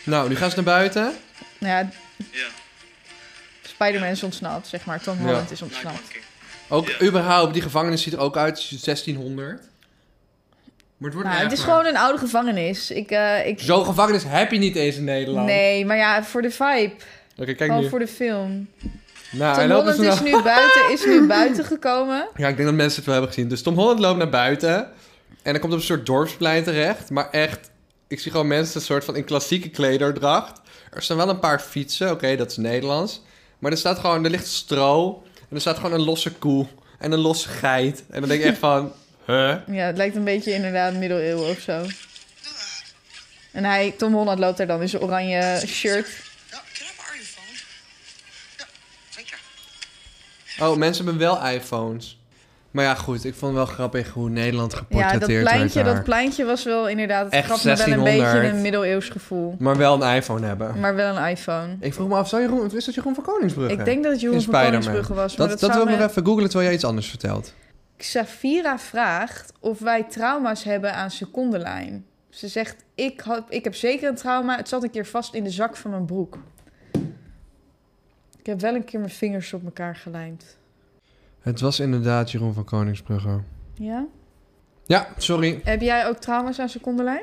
[SPEAKER 1] Nou, nu gaan ze naar buiten.
[SPEAKER 2] Ja,
[SPEAKER 3] Yeah.
[SPEAKER 2] Spider-Man is ontsnapt, zeg maar. Tom
[SPEAKER 1] Ja.
[SPEAKER 2] Holland is ontsnapt.
[SPEAKER 1] Ook
[SPEAKER 3] Ja.
[SPEAKER 1] überhaupt, die gevangenis ziet er ook uit als 1600. Maar het wordt
[SPEAKER 2] Nou,
[SPEAKER 1] niet
[SPEAKER 2] het is
[SPEAKER 1] erger.
[SPEAKER 2] gewoon een oude gevangenis. Ik, eh, ik...
[SPEAKER 1] Zo'n gevangenis heb je niet eens in Nederland.
[SPEAKER 2] Nee, maar ja, voor de vibe.
[SPEAKER 1] Oké, kijk
[SPEAKER 2] Gewoon
[SPEAKER 1] nu.
[SPEAKER 2] voor de film.
[SPEAKER 1] Nou, hij
[SPEAKER 2] Tom
[SPEAKER 1] loopt dus
[SPEAKER 2] Holland is
[SPEAKER 1] naar-
[SPEAKER 2] nu, buiten, is nu buiten gekomen.
[SPEAKER 1] Ja, ik denk dat mensen het wel hebben gezien. Dus Tom Holland loopt naar buiten. En dan komt op een soort dorpsplein terecht. Maar echt, ik zie gewoon mensen een soort van in klassieke klederdracht. Er staan wel een paar fietsen. Oké, dat is Nederlands. Maar er staat gewoon, er ligt stro. En er staat gewoon een losse koe. En een losse geit. En dan denk ik echt van, huh?
[SPEAKER 2] Ja, het lijkt een beetje inderdaad middeleeuwen of zo. En hij, Tom Holland loopt daar dan in zijn oranje shirt.
[SPEAKER 4] No, can I borrow your phone? No, zeker.
[SPEAKER 1] Oh, mensen hebben wel iPhones. Maar ja, goed. Ik vond het wel grappig hoe Nederland
[SPEAKER 2] Ja,
[SPEAKER 1] geportretteerd
[SPEAKER 2] dat
[SPEAKER 1] werd
[SPEAKER 2] pleintje,
[SPEAKER 1] daar.
[SPEAKER 2] dat pleintje was wel inderdaad... Het
[SPEAKER 1] Echt
[SPEAKER 2] gaf me wel een beetje
[SPEAKER 1] 1600.
[SPEAKER 2] een middeleeuws gevoel.
[SPEAKER 1] Maar wel een iPhone hebben.
[SPEAKER 2] Maar wel een iPhone.
[SPEAKER 1] Ik vroeg me af, zou Jeroen, is dat Jeroen van Koningsbrugge?
[SPEAKER 2] Ik denk dat het Jeroen
[SPEAKER 1] In
[SPEAKER 2] van
[SPEAKER 1] Spider-Man.
[SPEAKER 2] Koningsbrugge was. Maar
[SPEAKER 1] Dat, dat,
[SPEAKER 2] dat,
[SPEAKER 1] wil
[SPEAKER 2] zou
[SPEAKER 1] ik nog
[SPEAKER 2] me-
[SPEAKER 1] even googlen terwijl jij iets anders vertelt.
[SPEAKER 2] Xafira vraagt of wij trauma's hebben aan secondenlijn. Ze zegt, ik, had, ik heb zeker een trauma. Het zat een keer vast in de zak van mijn broek. Ik heb wel een keer mijn vingers op elkaar gelijmd.
[SPEAKER 1] Het was inderdaad Jeroen van Koningsbrugge.
[SPEAKER 2] Ja?
[SPEAKER 1] Ja, sorry.
[SPEAKER 2] Heb jij ook trauma's aan secondenlijn?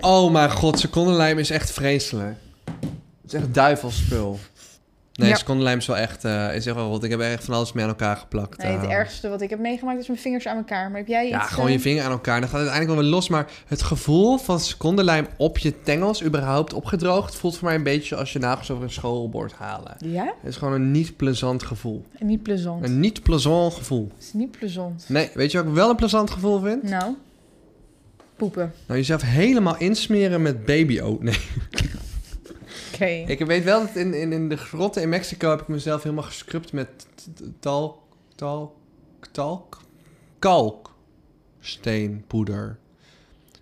[SPEAKER 1] Oh mijn god, secondenlijm is echt vreselijk. Het is echt duivelspul. Nee,
[SPEAKER 2] Ja.
[SPEAKER 1] secondenlijm is wel echt, eh, is echt wel rot. Ik heb er echt van alles mee aan elkaar geplakt.
[SPEAKER 2] Nee, het
[SPEAKER 1] eh.
[SPEAKER 2] ergste wat ik heb meegemaakt is mijn vingers aan elkaar. Maar heb jij iets...
[SPEAKER 1] Ja, gewoon
[SPEAKER 2] eh,
[SPEAKER 1] je vinger aan elkaar. Dan gaat het uiteindelijk wel weer los. Maar het gevoel van secondenlijm op je tengels, überhaupt opgedroogd, voelt voor mij een beetje als je nagels over een schoolbord halen.
[SPEAKER 2] Ja?
[SPEAKER 1] Het is gewoon een niet plezant gevoel.
[SPEAKER 2] En niet plezant.
[SPEAKER 1] Een niet plezant gevoel.
[SPEAKER 2] Het is niet plezant.
[SPEAKER 1] Nee, weet je wat ik wel een plezant gevoel vind?
[SPEAKER 2] Nou? Poepen.
[SPEAKER 1] Nou, jezelf helemaal insmeren met babyoat. Nee.
[SPEAKER 2] Oké.
[SPEAKER 1] Ik weet wel dat in, in, in de grotten in Mexico heb ik mezelf helemaal gescrupt met t- t- talk, talk, talk, kalk, steenpoeder.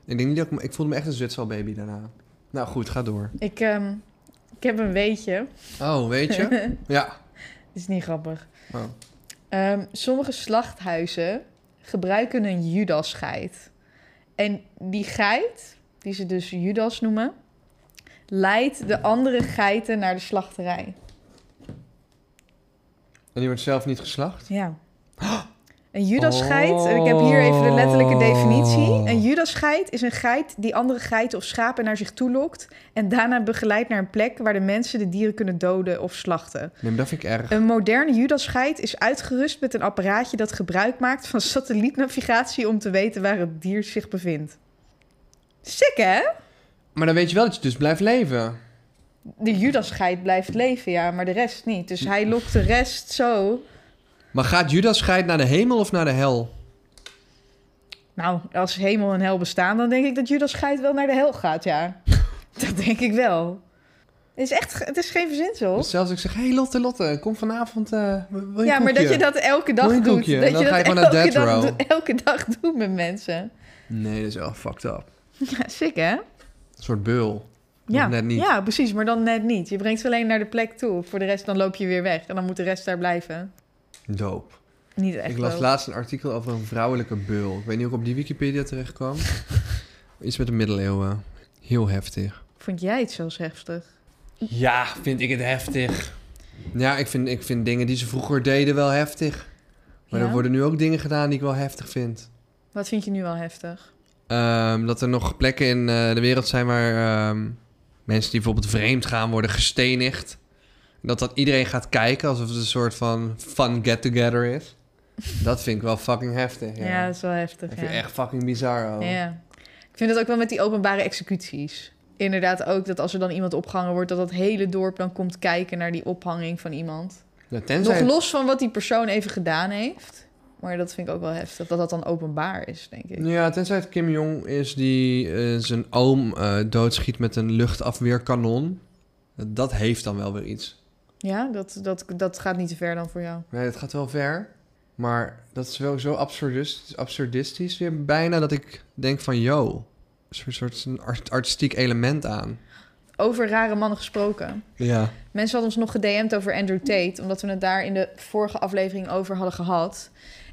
[SPEAKER 1] Ik denk niet dat ik, me- ik voelde me echt een zwitserbaby daarna. Nou goed, ga door.
[SPEAKER 2] Ik, ehm, ik heb een weetje.
[SPEAKER 1] Oh, weet je? ja.
[SPEAKER 2] Dit is niet grappig.
[SPEAKER 1] Oh.
[SPEAKER 2] Ehm, sommige slachthuizen gebruiken een Judasgeit. En die geit, die ze dus Judas noemen, leidt de andere geiten naar de slachterij.
[SPEAKER 1] En die wordt zelf niet geslacht?
[SPEAKER 2] Ja. Een Judas-geit, en ik heb hier even de letterlijke definitie. Een Judas-geit is een geit die andere geiten of schapen naar zich toe lokt... en daarna begeleidt naar een plek waar de mensen de dieren kunnen doden of slachten.
[SPEAKER 1] Nee, maar dat vind ik erg.
[SPEAKER 2] Een moderne Judas-geit is uitgerust met een apparaatje dat gebruik maakt van satellietnavigatie... om te weten waar het dier zich bevindt. Sick, hè?
[SPEAKER 1] Maar dan weet je wel dat je dus blijft leven.
[SPEAKER 2] De Judas-geit blijft leven, ja, maar de rest niet. Dus hij lokt de rest zo.
[SPEAKER 1] Maar gaat Judas geit naar de hemel of naar de hel?
[SPEAKER 2] Nou, als hemel en hel bestaan, dan denk ik dat Judas Geit wel naar de hel gaat, ja. dat denk ik wel. Het is echt, ge- het is geen verzinsel.
[SPEAKER 1] Dus zelfs ik zeg, hé hey Lotte, Lotte, kom vanavond, eh wil je een
[SPEAKER 2] Ja, maar
[SPEAKER 1] koekje?
[SPEAKER 2] dat je dat elke dag
[SPEAKER 1] Wil je een
[SPEAKER 2] doet.
[SPEAKER 1] koekje?
[SPEAKER 2] Dat
[SPEAKER 1] Dan
[SPEAKER 2] je
[SPEAKER 1] ga
[SPEAKER 2] dat
[SPEAKER 1] je gewoon naar
[SPEAKER 2] elke
[SPEAKER 1] death
[SPEAKER 2] dag,
[SPEAKER 1] row.
[SPEAKER 2] doet- elke dag doet met mensen.
[SPEAKER 1] Nee, dat is wel fucked up.
[SPEAKER 2] Ja, sick hè?
[SPEAKER 1] Een soort beul.
[SPEAKER 2] Ja,
[SPEAKER 1] net niet.
[SPEAKER 2] ja, precies, maar dan net niet. Je brengt ze alleen naar de plek toe. Voor de rest dan loop je weer weg. En dan moet de rest daar blijven.
[SPEAKER 1] Dope.
[SPEAKER 2] Niet echt
[SPEAKER 1] ik las
[SPEAKER 2] wel.
[SPEAKER 1] laatst een artikel over een vrouwelijke beul. Ik weet niet hoe ik op die Wikipedia terecht kwam. Iets met de middeleeuwen. Heel heftig.
[SPEAKER 2] Vond jij het zelfs heftig?
[SPEAKER 1] Ja, vind ik het heftig. Ja, ik vind, ik vind dingen die ze vroeger deden wel heftig. Maar
[SPEAKER 2] Ja?
[SPEAKER 1] er worden nu ook dingen gedaan die ik wel heftig vind.
[SPEAKER 2] Wat vind je nu wel heftig?
[SPEAKER 1] Ehm, dat er nog plekken in eh, de wereld zijn waar ehm, mensen die bijvoorbeeld vreemd gaan worden gestenigd. Dat dat iedereen gaat kijken alsof het een soort van fun get-together is. Dat vind ik wel fucking heftig.
[SPEAKER 2] Ja,
[SPEAKER 1] Ja.
[SPEAKER 2] dat is wel heftig.
[SPEAKER 1] dat
[SPEAKER 2] ja.
[SPEAKER 1] vind ik echt oh. fucking bizar. al.
[SPEAKER 2] Ja. Ik vind dat ook wel met die openbare executies. Inderdaad ook dat als er dan iemand opgehangen wordt... dat dat hele dorp dan komt kijken naar die ophanging van iemand.
[SPEAKER 1] Ja, tenzij,
[SPEAKER 2] Nog los van wat die persoon even gedaan heeft. Maar dat vind ik ook wel heftig, dat dat dan openbaar is, denk ik.
[SPEAKER 1] Nou ja, tenzij het Kim Jong is die eh, zijn oom eh, doodschiet met een luchtafweerkanon. Dat heeft dan wel weer iets.
[SPEAKER 2] Ja, dat, dat, dat gaat niet te ver dan voor jou.
[SPEAKER 1] Nee, het gaat wel ver. Maar dat is wel zo absurdistisch, absurdistisch weer bijna dat ik denk van... yo, er is een soort een art- artistiek element aan.
[SPEAKER 2] Over rare mannen gesproken.
[SPEAKER 1] Ja.
[SPEAKER 2] Mensen hadden ons nog gedM'd over Andrew Tate, omdat we het daar in de vorige aflevering over hadden gehad.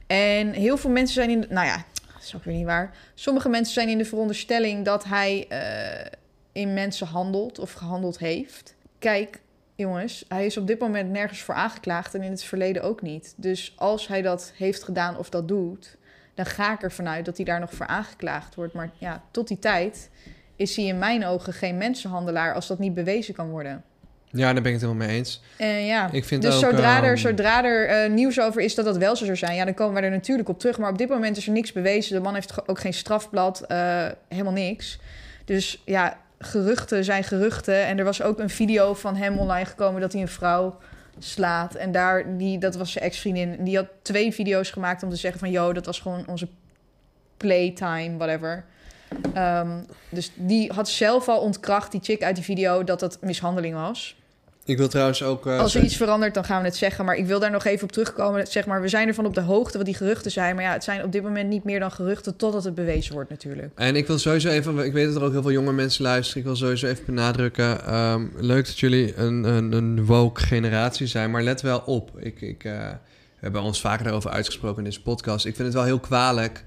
[SPEAKER 2] En heel veel mensen zijn in. De, nou ja, dat is ook weer niet waar. Sommige mensen zijn in de veronderstelling dat hij eh, in mensen handelt of gehandeld heeft. Kijk, jongens, hij is op dit moment nergens voor aangeklaagd en in het verleden ook niet. Dus als hij dat heeft gedaan of dat doet, dan ga ik ervan uit dat hij daar nog voor aangeklaagd wordt. Maar ja, tot die tijd is hij in mijn ogen geen mensenhandelaar als dat niet bewezen kan worden.
[SPEAKER 1] Ja, daar ben ik het helemaal mee eens.
[SPEAKER 2] Eh, ja,
[SPEAKER 1] Ik vind
[SPEAKER 2] dus
[SPEAKER 1] ook,
[SPEAKER 2] zodra er,
[SPEAKER 1] ehm,
[SPEAKER 2] zodra er eh, nieuws over is dat dat wel zo zou zijn, ja, dan komen we er natuurlijk op terug. Maar op dit moment is er niks bewezen. De man heeft ge- ook geen strafblad, eh, helemaal niks. Dus ja, geruchten zijn geruchten. En er was ook een video van hem online gekomen dat hij een vrouw slaat. En daar, die, dat was zijn ex-vriendin. En Die had twee video's gemaakt om te zeggen van... yo, dat was gewoon onze playtime, whatever. Ehm, dus die had zelf al ontkracht, die chick uit die video... dat dat mishandeling was.
[SPEAKER 1] Ik wil trouwens ook... eh,
[SPEAKER 2] Als er iets verandert, dan gaan we het zeggen. Maar ik wil daar nog even op terugkomen. Zeg maar, we zijn ervan op de hoogte wat die geruchten zijn. Maar ja, het zijn op dit moment niet meer dan geruchten totdat het bewezen wordt natuurlijk.
[SPEAKER 1] En ik wil sowieso even, ik weet dat er ook heel veel jonge mensen luisteren. Ik wil sowieso even benadrukken. ehm, leuk dat jullie een, een, een woke generatie zijn, maar let wel op. Ik, ik, eh, we hebben ons vaker daarover uitgesproken in deze podcast. Ik vind het wel heel kwalijk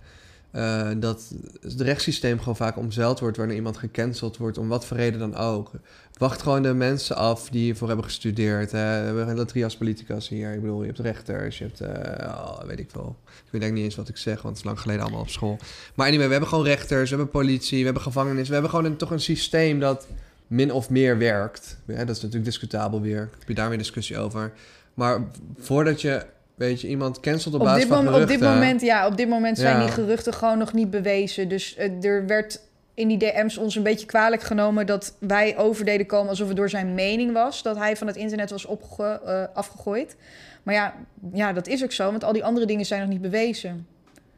[SPEAKER 1] eh, dat het rechtssysteem gewoon vaak omzeild wordt wanneer iemand gecanceld wordt, om wat voor reden dan ook. Wacht gewoon de mensen af die hiervoor hebben gestudeerd. Hè. We hebben hele trias politicus hier. Ik bedoel, je hebt rechters, je hebt, eh, oh, weet ik veel. Ik weet eigenlijk niet eens wat ik zeg, want het is lang geleden allemaal op school. Maar anyway, we hebben gewoon rechters, we hebben politie, we hebben gevangenis. We hebben gewoon een, toch een systeem dat min of meer werkt. Ja, dat is natuurlijk discutabel weer. Heb je daar weer discussie over. Maar voordat je, weet je, iemand cancelt op,
[SPEAKER 2] Op
[SPEAKER 1] basis
[SPEAKER 2] dit,
[SPEAKER 1] van
[SPEAKER 2] mom- op dit
[SPEAKER 1] geruchten-
[SPEAKER 2] moment, ja, op dit moment zijn
[SPEAKER 1] Ja.
[SPEAKER 2] die geruchten gewoon nog niet bewezen. Dus eh, er werd in die DM's ons een beetje kwalijk genomen dat wij over deden komen alsof het door zijn mening was. Dat hij van het internet was opge- eh, afgegooid. Maar ja, ja, dat is ook zo, want al die andere dingen zijn nog niet bewezen.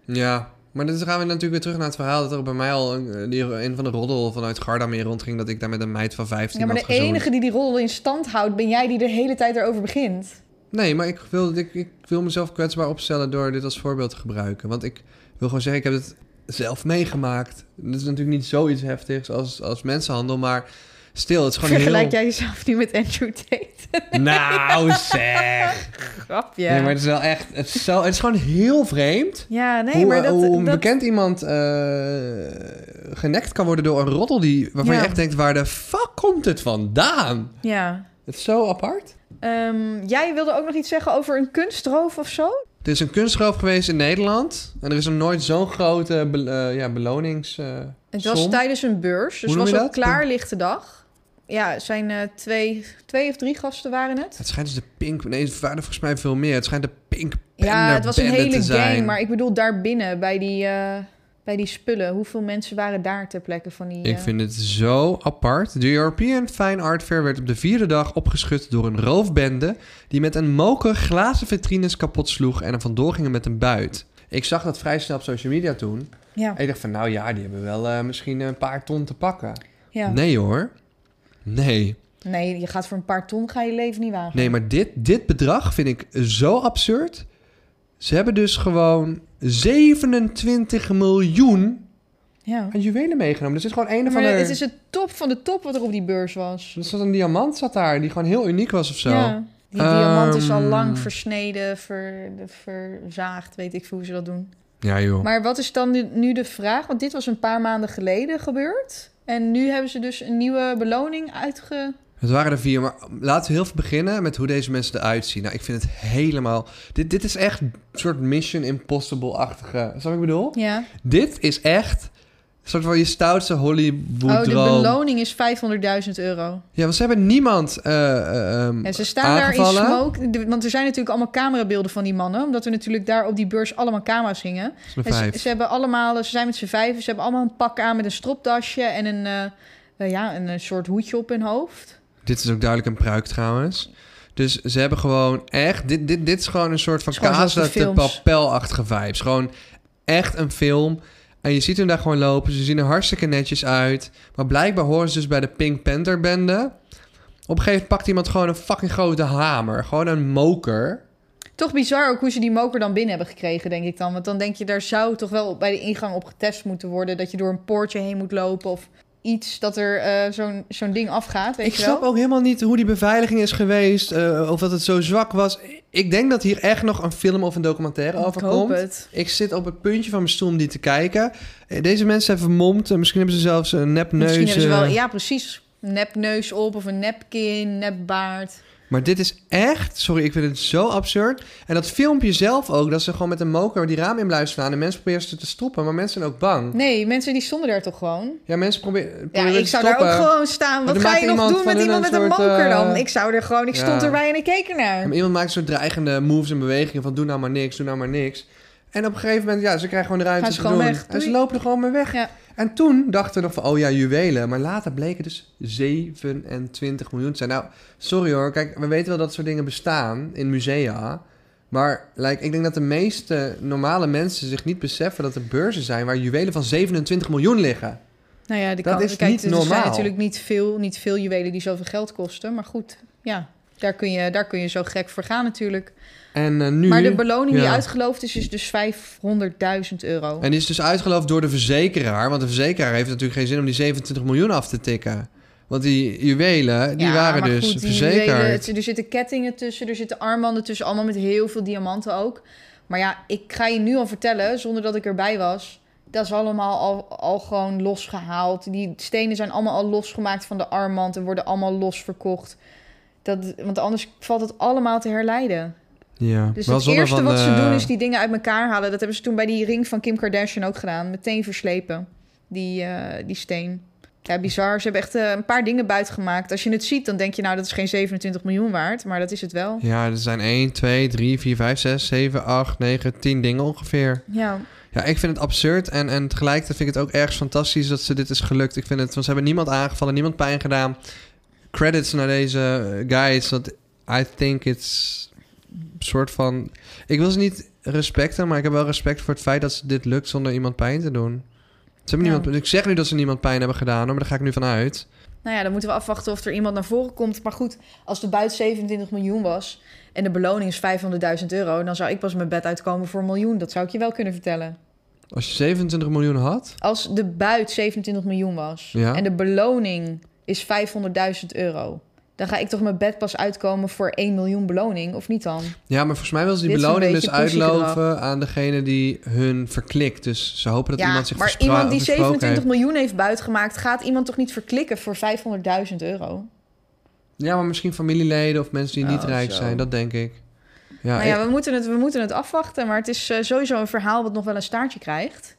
[SPEAKER 1] Ja, maar dan gaan we natuurlijk weer terug naar het verhaal dat er bij mij al een, eh, die, een van de roddel vanuit Garda mee rondging dat ik daar met een meid van 15
[SPEAKER 2] Ja, maar
[SPEAKER 1] had
[SPEAKER 2] de
[SPEAKER 1] gezoend.
[SPEAKER 2] enige die die rol in stand houdt, ben jij die de hele tijd erover begint.
[SPEAKER 1] Nee, maar ik wil, ik, ik wil mezelf kwetsbaar opstellen door dit als voorbeeld te gebruiken. Want ik wil gewoon zeggen, ik heb het zelf meegemaakt. Het is natuurlijk niet zoiets heftigs als, als mensenhandel, maar Stil, het is gewoon
[SPEAKER 2] Vergelijk
[SPEAKER 1] heel...
[SPEAKER 2] jij jezelf nu met Andrew Tate?
[SPEAKER 1] Nou zeg!
[SPEAKER 2] Grapje.
[SPEAKER 1] Nee, maar het is wel echt... Het is, zo, het is gewoon heel vreemd...
[SPEAKER 2] Ja, nee,
[SPEAKER 1] hoe,
[SPEAKER 2] maar
[SPEAKER 1] eh,
[SPEAKER 2] dat...
[SPEAKER 1] hoe
[SPEAKER 2] dat-
[SPEAKER 1] bekend iemand eh genekt kan worden door een roddel die, waarvan
[SPEAKER 2] Ja.
[SPEAKER 1] je echt denkt... Waar de fuck komt het vandaan?
[SPEAKER 2] Ja.
[SPEAKER 1] Het is zo apart.
[SPEAKER 2] Ehm, jij wilde ook nog iets zeggen over een kunstroof of zo?
[SPEAKER 1] Er is een kunstroof geweest in Nederland. En er is nog nooit zo'n grote be- eh, ja, belonings... eh,
[SPEAKER 2] Het was
[SPEAKER 1] som.
[SPEAKER 2] tijdens een beurs, dus
[SPEAKER 1] Hoe noem
[SPEAKER 2] was
[SPEAKER 1] je
[SPEAKER 2] op
[SPEAKER 1] dat?
[SPEAKER 2] klaarlichte dag. Ja, het zijn eh, twee, twee of drie gasten waren het.
[SPEAKER 1] Het schijnt dus de Pink... Nee, het waren er volgens mij veel meer. Het schijnt de Pink Panther
[SPEAKER 2] Ja, het was een
[SPEAKER 1] Bende
[SPEAKER 2] hele
[SPEAKER 1] te zijn.
[SPEAKER 2] gang, maar ik bedoel daarbinnen bij die, eh, bij die spullen. Hoeveel mensen waren daar ter plekke van die...
[SPEAKER 1] Ik
[SPEAKER 2] eh,
[SPEAKER 1] vind het zo apart. De European Fine Art Fair werd op de vierde dag opgeschud door een roofbende... die met een moker glazen vitrines kapot sloeg en er vandoor gingen met een buit. Ik zag dat vrij snel op social media toen.
[SPEAKER 2] Ja,
[SPEAKER 1] En ik dacht van, nou ja, die hebben wel eh, misschien een paar ton te pakken.
[SPEAKER 2] ja. Nee.
[SPEAKER 1] Nee hoor. Nee.
[SPEAKER 2] je gaat voor een paar ton, ga je leven niet wagen.
[SPEAKER 1] Nee, maar dit, dit bedrag vind ik zo absurd. Ze hebben dus gewoon 27 miljoen
[SPEAKER 2] Ja.
[SPEAKER 1] aan juwelen meegenomen. Er zit gewoon een of
[SPEAKER 2] Maar
[SPEAKER 1] andere...
[SPEAKER 2] het is het top van de top wat er op die beurs was.
[SPEAKER 1] Er zat een diamant zat daar, die gewoon heel uniek was of zo.
[SPEAKER 2] Ja. Die diamant is al
[SPEAKER 1] Ehm.
[SPEAKER 2] lang versneden, ver, verzaagd, weet ik veel hoe ze dat doen.
[SPEAKER 1] Ja, joh.
[SPEAKER 2] Maar wat is dan nu, nu de vraag? Want dit was een paar maanden geleden gebeurd. En nu hebben ze dus een nieuwe beloning uitge...
[SPEAKER 1] Het waren er vier, maar laten we heel veel beginnen met hoe deze mensen eruit zien. Nou, ik vind het helemaal... Dit, dit is echt een soort Mission Impossible-achtige... Snap je wat ik bedoel?
[SPEAKER 2] Ja.
[SPEAKER 1] Dit is echt een soort van je stoutste
[SPEAKER 2] Oh, de
[SPEAKER 1] Hollywood-droom.
[SPEAKER 2] beloning is 500.000 euro.
[SPEAKER 1] ja, want ze hebben niemand eh, eh, ehm,
[SPEAKER 2] En ze staan daar in
[SPEAKER 1] aangevallen.
[SPEAKER 2] smoke. De- Want er zijn natuurlijk allemaal camerabeelden van die mannen. Omdat er natuurlijk daar op die beurs allemaal camera's hingen.
[SPEAKER 1] Dat is nummer
[SPEAKER 2] En ze,
[SPEAKER 1] vijf.
[SPEAKER 2] ze hebben allemaal, ze zijn met z'n vijven. Ze hebben allemaal een pak aan met een stropdasje en een, eh, eh, ja, een, een soort hoedje op hun hoofd.
[SPEAKER 1] Dit is ook duidelijk een pruik trouwens. Dus ze hebben gewoon echt... Dit, dit, dit is gewoon een soort van
[SPEAKER 2] Het is gewoon
[SPEAKER 1] Casa
[SPEAKER 2] zoals de
[SPEAKER 1] de
[SPEAKER 2] films.
[SPEAKER 1] Papel-achtige vibes. Gewoon echt een film. En je ziet hem daar gewoon lopen. Ze zien er hartstikke netjes uit. Maar blijkbaar horen ze dus bij de Pink Panther-bende. Op een gegeven moment pakt iemand gewoon een fucking grote hamer. Gewoon een moker.
[SPEAKER 2] Toch bizar ook hoe ze die moker dan binnen hebben gekregen, denk ik dan. Want dan denk je, daar zou toch wel bij de ingang op getest moeten worden. Dat je door een poortje heen moet lopen of iets dat er eh, zo'n zo'n ding afgaat, weet
[SPEAKER 1] Ik
[SPEAKER 2] je wel.
[SPEAKER 1] snap ook helemaal niet hoe die beveiliging is geweest. eh, of dat het zo zwak was. Ik denk dat hier echt nog een film of een documentaire over
[SPEAKER 2] Ik
[SPEAKER 1] komt.
[SPEAKER 2] hoop het.
[SPEAKER 1] Ik zit op het puntje van mijn stoel om die te kijken. Eh, Deze mensen zijn vermomd. eh, Misschien hebben ze zelfs een nepneus.
[SPEAKER 2] Misschien hebben ze wel,
[SPEAKER 1] eh,
[SPEAKER 2] ja precies, nepneus op of een nepkin, nepbaard.
[SPEAKER 1] Maar dit is echt... Sorry, ik vind het zo absurd. En dat filmpje zelf ook. Dat ze gewoon met een moker die raam in blijven slaan. En mensen proberen ze te stoppen. Maar mensen zijn ook bang.
[SPEAKER 2] Nee, mensen die stonden daar toch gewoon?
[SPEAKER 1] Ja, mensen proberen,
[SPEAKER 2] Ja,
[SPEAKER 1] proberen
[SPEAKER 2] ik
[SPEAKER 1] te
[SPEAKER 2] zou
[SPEAKER 1] stoppen.
[SPEAKER 2] daar ook gewoon staan.
[SPEAKER 1] Maar
[SPEAKER 2] Wat
[SPEAKER 1] dan
[SPEAKER 2] ga
[SPEAKER 1] maakt
[SPEAKER 2] je nog
[SPEAKER 1] iemand
[SPEAKER 2] doen
[SPEAKER 1] van
[SPEAKER 2] met
[SPEAKER 1] hun
[SPEAKER 2] iemand
[SPEAKER 1] een
[SPEAKER 2] met een
[SPEAKER 1] soort,
[SPEAKER 2] moker
[SPEAKER 1] eh,
[SPEAKER 2] dan? Ik zou er gewoon... Ik stond
[SPEAKER 1] ja.
[SPEAKER 2] erbij en ik keek ernaar.
[SPEAKER 1] Maar iemand maakt zo'n dreigende moves en bewegingen van doe nou maar niks, doe nou maar niks. En op een gegeven moment, ja, ze krijgen gewoon de ruimte
[SPEAKER 2] Gaan ze
[SPEAKER 1] te
[SPEAKER 2] gewoon
[SPEAKER 1] doen.
[SPEAKER 2] weg,
[SPEAKER 1] En ze
[SPEAKER 2] doei.
[SPEAKER 1] lopen er gewoon mee weg.
[SPEAKER 2] Ja.
[SPEAKER 1] En toen dachten we nog van, oh ja, juwelen. Maar later bleken dus 27 miljoen te zijn. Nou, sorry hoor. Kijk, we weten wel dat soort dingen bestaan in musea. Maar like, ik denk dat de meeste normale mensen zich niet beseffen dat er beurzen zijn waar juwelen van 27 miljoen liggen.
[SPEAKER 2] Nou ja, de
[SPEAKER 1] Dat
[SPEAKER 2] kant-
[SPEAKER 1] is
[SPEAKER 2] kijk,
[SPEAKER 1] niet
[SPEAKER 2] Er zijn
[SPEAKER 1] normaal.
[SPEAKER 2] natuurlijk niet veel, niet veel juwelen die zoveel geld kosten. Maar goed, ja, daar kun je, daar kun je zo gek voor gaan natuurlijk.
[SPEAKER 1] En eh, nu...
[SPEAKER 2] maar de beloning die
[SPEAKER 1] ja.
[SPEAKER 2] uitgeloofd is, is dus 500.000 euro.
[SPEAKER 1] En die is dus uitgeloofd door de verzekeraar. Want de verzekeraar heeft natuurlijk geen zin om die 27 miljoen af te tikken. Want die juwelen, die
[SPEAKER 2] Ja,
[SPEAKER 1] waren
[SPEAKER 2] maar
[SPEAKER 1] dus
[SPEAKER 2] goed, die
[SPEAKER 1] verzekerd.
[SPEAKER 2] juwelen, het- er zitten kettingen tussen, er zitten armbanden tussen. Allemaal met heel veel diamanten ook. Maar ja, ik ga je nu al vertellen, zonder dat ik erbij was... Dat is allemaal al, al gewoon losgehaald. Die stenen zijn allemaal al losgemaakt van de armband... en worden allemaal los verkocht. Dat, want anders valt het allemaal te herleiden.
[SPEAKER 1] Ja.
[SPEAKER 2] Dus
[SPEAKER 1] wel
[SPEAKER 2] het
[SPEAKER 1] zonder
[SPEAKER 2] eerste
[SPEAKER 1] van eh,
[SPEAKER 2] wat ze
[SPEAKER 1] de-
[SPEAKER 2] doen is die dingen uit elkaar halen. Dat hebben ze toen bij die ring van Kim Kardashian ook gedaan. Meteen verslepen, die, eh, die steen. Ja, bizar. Ze hebben echt eh, een paar dingen buitengemaakt. Als je het ziet, dan denk je nou, dat is geen 27 miljoen waard. Maar dat is het wel.
[SPEAKER 1] Ja, er zijn 1, 2, 3, 4, 5, 6, 7, 8, 9, 10 dingen ongeveer.
[SPEAKER 2] Ja,
[SPEAKER 1] Ja, ik vind het absurd. En, en tegelijkertijd vind ik het ook ergens fantastisch dat ze dit is gelukt. Ik vind het, want ze hebben niemand aangevallen, niemand pijn gedaan. Credits naar deze eh, guys. Dat I think it's een soort van. Ik wil ze niet respecten, maar ik heb wel respect voor het feit dat ze dit lukt zonder iemand pijn te doen. Ze hebben
[SPEAKER 2] Ja.
[SPEAKER 1] niemand, ik zeg nu dat ze niemand pijn hebben gedaan, hoor, maar daar ga ik nu van uit.
[SPEAKER 2] nou ja, dan moeten we afwachten of er iemand naar voren komt. Maar goed, als de buit 27 miljoen was en de beloning is 500.000 euro... dan zou ik pas mijn bed uitkomen voor een miljoen. Dat zou ik je wel kunnen vertellen.
[SPEAKER 1] Als je 27 miljoen had,
[SPEAKER 2] Als de buit 27 miljoen was
[SPEAKER 1] Ja.
[SPEAKER 2] en de beloning is 500.000 euro. Dan ga ik toch mijn bed pas uitkomen voor 1 miljoen beloning, of niet dan?
[SPEAKER 1] Ja, maar volgens mij wil ze die
[SPEAKER 2] Dit is een
[SPEAKER 1] beloning dus
[SPEAKER 2] beetje poesiegedrag.
[SPEAKER 1] uitlopen aan degene die hun verklikt. Dus ze hopen dat iemand zich
[SPEAKER 2] maar
[SPEAKER 1] verspra-
[SPEAKER 2] iemand die
[SPEAKER 1] versproken
[SPEAKER 2] 27
[SPEAKER 1] heeft.
[SPEAKER 2] miljoen heeft buitgemaakt, gaat iemand toch niet verklikken voor 500.000 euro?
[SPEAKER 1] Ja, maar misschien familieleden of mensen die niet
[SPEAKER 2] Oh,
[SPEAKER 1] rijk
[SPEAKER 2] zo.
[SPEAKER 1] zijn, dat denk ik. Ja,
[SPEAKER 2] nou ja,
[SPEAKER 1] ik-
[SPEAKER 2] we moeten, het, we moeten het afwachten, maar het is eh, sowieso een verhaal wat nog wel een staartje krijgt.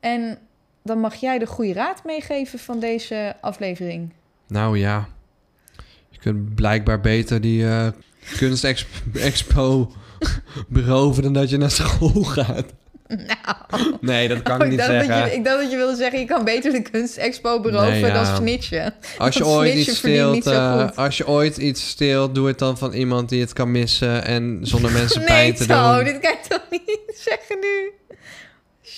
[SPEAKER 2] En dan mag jij de goede raad meegeven van deze aflevering.
[SPEAKER 1] nou ja. Je kunt blijkbaar beter die eh, kunstexpo beroven dan dat je naar school gaat.
[SPEAKER 2] Nou,
[SPEAKER 1] Nee, dat kan ik
[SPEAKER 2] ik,
[SPEAKER 1] niet
[SPEAKER 2] dacht
[SPEAKER 1] zeggen.
[SPEAKER 2] dat je, ik dacht dat je wilde zeggen, je kan beter de kunstexpo beroven
[SPEAKER 1] Nee, ja.
[SPEAKER 2] dan snitchen.
[SPEAKER 1] Als je
[SPEAKER 2] Dat
[SPEAKER 1] ooit
[SPEAKER 2] snitchen
[SPEAKER 1] iets
[SPEAKER 2] verdient
[SPEAKER 1] steelt,
[SPEAKER 2] niet zo
[SPEAKER 1] eh,
[SPEAKER 2] goed.
[SPEAKER 1] als je ooit iets steelt, doe het dan van iemand die het kan missen en zonder mensen
[SPEAKER 2] Nee,
[SPEAKER 1] pijn te
[SPEAKER 2] zo,
[SPEAKER 1] doen.
[SPEAKER 2] dit kan je toch niet zeggen nu?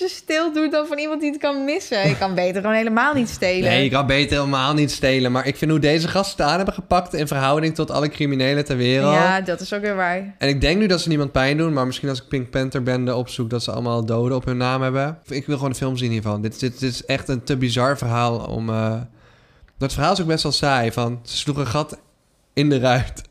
[SPEAKER 2] Als je stil doet dan van iemand die het kan missen. Je kan beter gewoon helemaal niet stelen.
[SPEAKER 1] Nee, je kan beter helemaal niet stelen. Maar ik vind hoe deze gasten het aan hebben gepakt in verhouding tot alle criminelen ter wereld.
[SPEAKER 2] Ja, dat is ook weer waar.
[SPEAKER 1] En ik denk nu dat ze niemand pijn doen, maar misschien als ik Pink Panther bende opzoek dat ze allemaal doden op hun naam hebben. Ik wil gewoon een film zien hiervan. Dit, dit, dit is echt een te bizar verhaal om. eh, Dat verhaal is ook best wel saai. Van, ze sloegen een gat in de ruit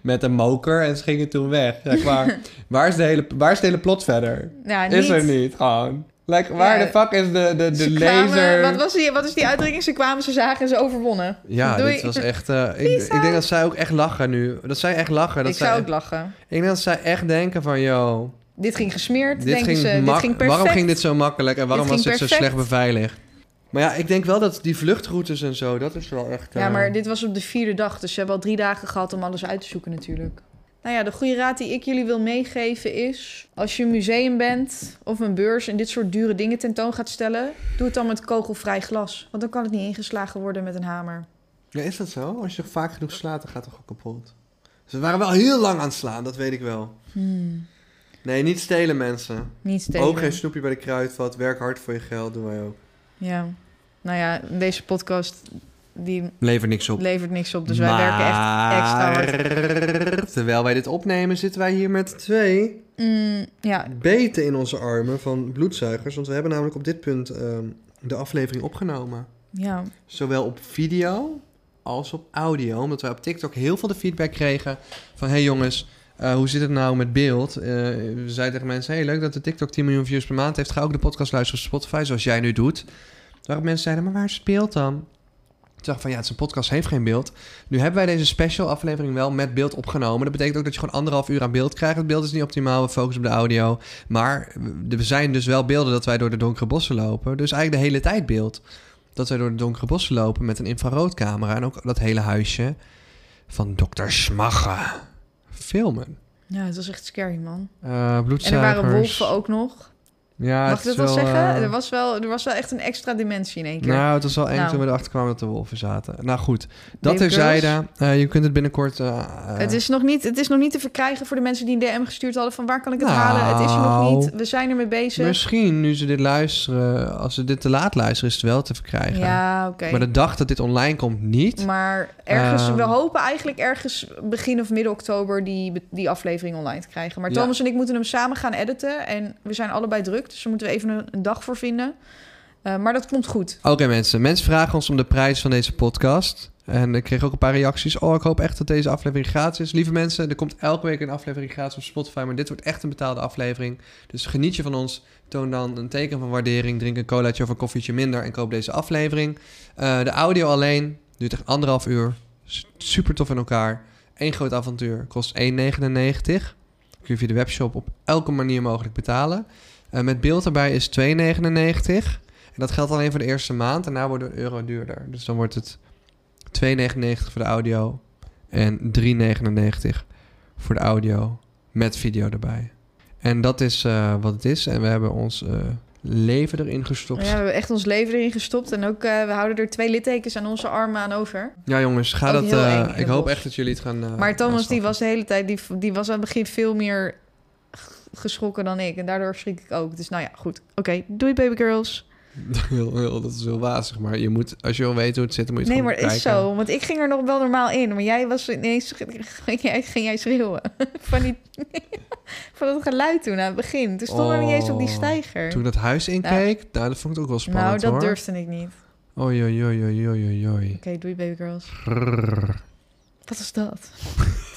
[SPEAKER 1] met een moker en ze gingen toen weg. Zeg maar, waar, is de hele, waar is de hele plot verder?
[SPEAKER 2] Ja,
[SPEAKER 1] Is er
[SPEAKER 2] niet.
[SPEAKER 1] niet gewoon. Like, waar
[SPEAKER 2] Ja,
[SPEAKER 1] de fuck is de, de, de
[SPEAKER 2] Ze kwamen-
[SPEAKER 1] laser?
[SPEAKER 2] wat, was die, wat is die uitdrukking? Ze kwamen, ze zagen en ze overwonnen.
[SPEAKER 1] Ja,
[SPEAKER 2] Doei.
[SPEAKER 1] dit was echt. eh, ik, ik denk dat zij ook echt lachen nu. Dat zij echt lachen. Dat
[SPEAKER 2] Ik
[SPEAKER 1] zij,
[SPEAKER 2] zou ook lachen.
[SPEAKER 1] Ik denk dat zij echt denken van, yo,
[SPEAKER 2] Dit ging gesmeerd,
[SPEAKER 1] dit
[SPEAKER 2] denken
[SPEAKER 1] ging,
[SPEAKER 2] ze. Dit
[SPEAKER 1] mak-
[SPEAKER 2] ging perfect.
[SPEAKER 1] waarom ging dit zo makkelijk en waarom
[SPEAKER 2] Dit
[SPEAKER 1] was
[SPEAKER 2] ging
[SPEAKER 1] dit zo
[SPEAKER 2] perfect.
[SPEAKER 1] slecht beveiligd? Maar ja, ik denk wel dat die vluchtroutes en zo, dat is wel echt.
[SPEAKER 2] Ja,
[SPEAKER 1] eh,
[SPEAKER 2] maar dit was op de vierde dag, dus ze hebben al drie dagen gehad om alles uit te zoeken natuurlijk. Nou ja, de goede raad die ik jullie wil meegeven is... als je een museum bent of een beurs en dit soort dure dingen tentoon gaat stellen... doe het dan met kogelvrij glas, want dan kan het niet ingeslagen worden met een hamer.
[SPEAKER 1] Ja, is dat zo? Als je toch vaak genoeg slaat, dan gaat het toch ook kapot. Ze Dus waren wel heel lang aan het slaan, dat weet ik wel. Nee, niet stelen mensen.
[SPEAKER 2] Hmm, Niet stelen.
[SPEAKER 1] Ook geen snoepje bij de kruidvat. Werk hard voor je geld, doen wij ook.
[SPEAKER 2] Ja, nou ja, deze podcast die
[SPEAKER 1] Lever niks op.
[SPEAKER 2] levert niks op, dus wij werken echt extra hard.
[SPEAKER 1] extra Terwijl wij dit opnemen, zitten wij hier met twee
[SPEAKER 2] Mm, ja,
[SPEAKER 1] beten in onze armen van bloedzuigers. Want we hebben namelijk op dit punt ehm, de aflevering opgenomen.
[SPEAKER 2] ja.
[SPEAKER 1] Zowel op video als op audio. Omdat wij op TikTok heel veel de feedback kregen van... hey jongens, eh, hoe zit het nou met beeld? Eh, we zeiden tegen mensen... hey leuk dat de TikTok 10 miljoen views per maand heeft. Ga ook de podcast luisteren op Spotify, zoals jij nu doet. Waarop mensen zeiden, maar waar is het beeld dan? Toen dacht ik van, ja, het is een podcast, heeft geen beeld. Nu hebben wij deze special aflevering wel met beeld opgenomen. Dat betekent ook dat je gewoon anderhalf uur aan beeld krijgt. Het beeld is niet optimaal, we focussen op de audio. Maar er zijn dus wel beelden dat wij door de donkere bossen lopen. Dus eigenlijk de hele tijd beeld. Dat wij door de donkere bossen lopen met een infraroodcamera. En ook dat hele huisje van dokter Smagge. Filmen.
[SPEAKER 2] ja, het was echt scary, man.
[SPEAKER 1] Eh
[SPEAKER 2] En er
[SPEAKER 1] bloedzuigers.
[SPEAKER 2] waren wolven ook nog.
[SPEAKER 1] Ja,
[SPEAKER 2] Mag
[SPEAKER 1] het
[SPEAKER 2] ik
[SPEAKER 1] is
[SPEAKER 2] dat wel
[SPEAKER 1] eh,
[SPEAKER 2] zeggen? Er was wel, er was wel echt een extra dimensie in één keer.
[SPEAKER 1] Nou, het was wel eng
[SPEAKER 2] Nou.
[SPEAKER 1] toen we erachter kwamen dat er wolven zaten. Nou goed, dat
[SPEAKER 2] Baby
[SPEAKER 1] terzijde. Eh je kunt het binnenkort... eh,
[SPEAKER 2] het, is nog niet, het is nog niet te verkrijgen voor de mensen die een DM gestuurd hadden van waar kan ik het halen? Het is er nog
[SPEAKER 1] Nou.
[SPEAKER 2] niet. We zijn ermee bezig.
[SPEAKER 1] eh, Misschien, nu ze dit luisteren, als ze dit te laat luisteren, is het wel te verkrijgen.
[SPEAKER 2] Ja, oké.
[SPEAKER 1] Maar de dag dat dit online komt, niet.
[SPEAKER 2] Maar ergens,
[SPEAKER 1] Ehm.
[SPEAKER 2] we hopen eigenlijk ergens begin of midden oktober die, die aflevering online te krijgen. Maar
[SPEAKER 1] Ja.
[SPEAKER 2] Thomas en ik moeten hem samen gaan editen. En we zijn allebei druk, dus daar moeten we even een, een dag voor vinden. Eh, maar dat komt goed.
[SPEAKER 1] Oké mensen, mensen vragen ons om de prijs van deze podcast. En ik kreeg ook een paar reacties. Oh, ik hoop echt dat deze aflevering gratis is. Lieve mensen, er komt elke week een aflevering gratis op Spotify. Maar dit wordt echt een betaalde aflevering. Dus geniet je van ons. Toon dan een teken van waardering. Drink een colaatje of een koffietje minder. En koop deze aflevering. Eh, de audio alleen duurt echt anderhalf uur. S- Super tof in elkaar. Eén groot avontuur. Kost 1,99. Kun je via de webshop op elke manier mogelijk betalen. Eh, met beeld erbij is 2,99. En dat geldt alleen voor de eerste maand. Daarna wordt het een euro duurder. Dus dan wordt het 2,99 voor de audio en 3,99 voor de audio met video erbij. En dat is eh, wat het is. En we hebben ons eh, leven erin
[SPEAKER 2] Ja,
[SPEAKER 1] gestopt.
[SPEAKER 2] we hebben echt ons leven erin gestopt. En ook, eh, we houden er twee littekens aan onze armen aan over.
[SPEAKER 1] Ja, jongens, ga
[SPEAKER 2] Ook
[SPEAKER 1] dat.
[SPEAKER 2] heel
[SPEAKER 1] eh,
[SPEAKER 2] eng in
[SPEAKER 1] ik
[SPEAKER 2] het
[SPEAKER 1] hoop
[SPEAKER 2] bos.
[SPEAKER 1] echt dat jullie het gaan. eh,
[SPEAKER 2] Maar Thomas die
[SPEAKER 1] aanschaffen.
[SPEAKER 2] was de hele tijd, die, die was aan het begin veel meer g- geschrokken dan ik. En daardoor schrik ik ook. Dus nou ja, goed. Oké, doei baby girls.
[SPEAKER 1] heel, heel, dat is heel wazig. Maar je moet, als je wil weten hoe het zit, dan moet je
[SPEAKER 2] Nee,
[SPEAKER 1] het
[SPEAKER 2] maar
[SPEAKER 1] gewoon
[SPEAKER 2] het is
[SPEAKER 1] bekijken.
[SPEAKER 2] zo. Want ik ging er nog wel normaal in. Maar jij was ineens, ging jij, ging jij schreeuwen. Van, die, van dat geluid toen aan het begin. Toen stonden we niet eens op die
[SPEAKER 1] Oh,
[SPEAKER 2] stijger.
[SPEAKER 1] Toen ik dat huis inkeek, nou, dat vond ik het ook wel spannend.
[SPEAKER 2] nou, dat
[SPEAKER 1] hoor.
[SPEAKER 2] durfde ik niet.
[SPEAKER 1] Oei, oei, oei, oei, oei, oei, oei.
[SPEAKER 2] Oké, doei baby girls. Wat is dat?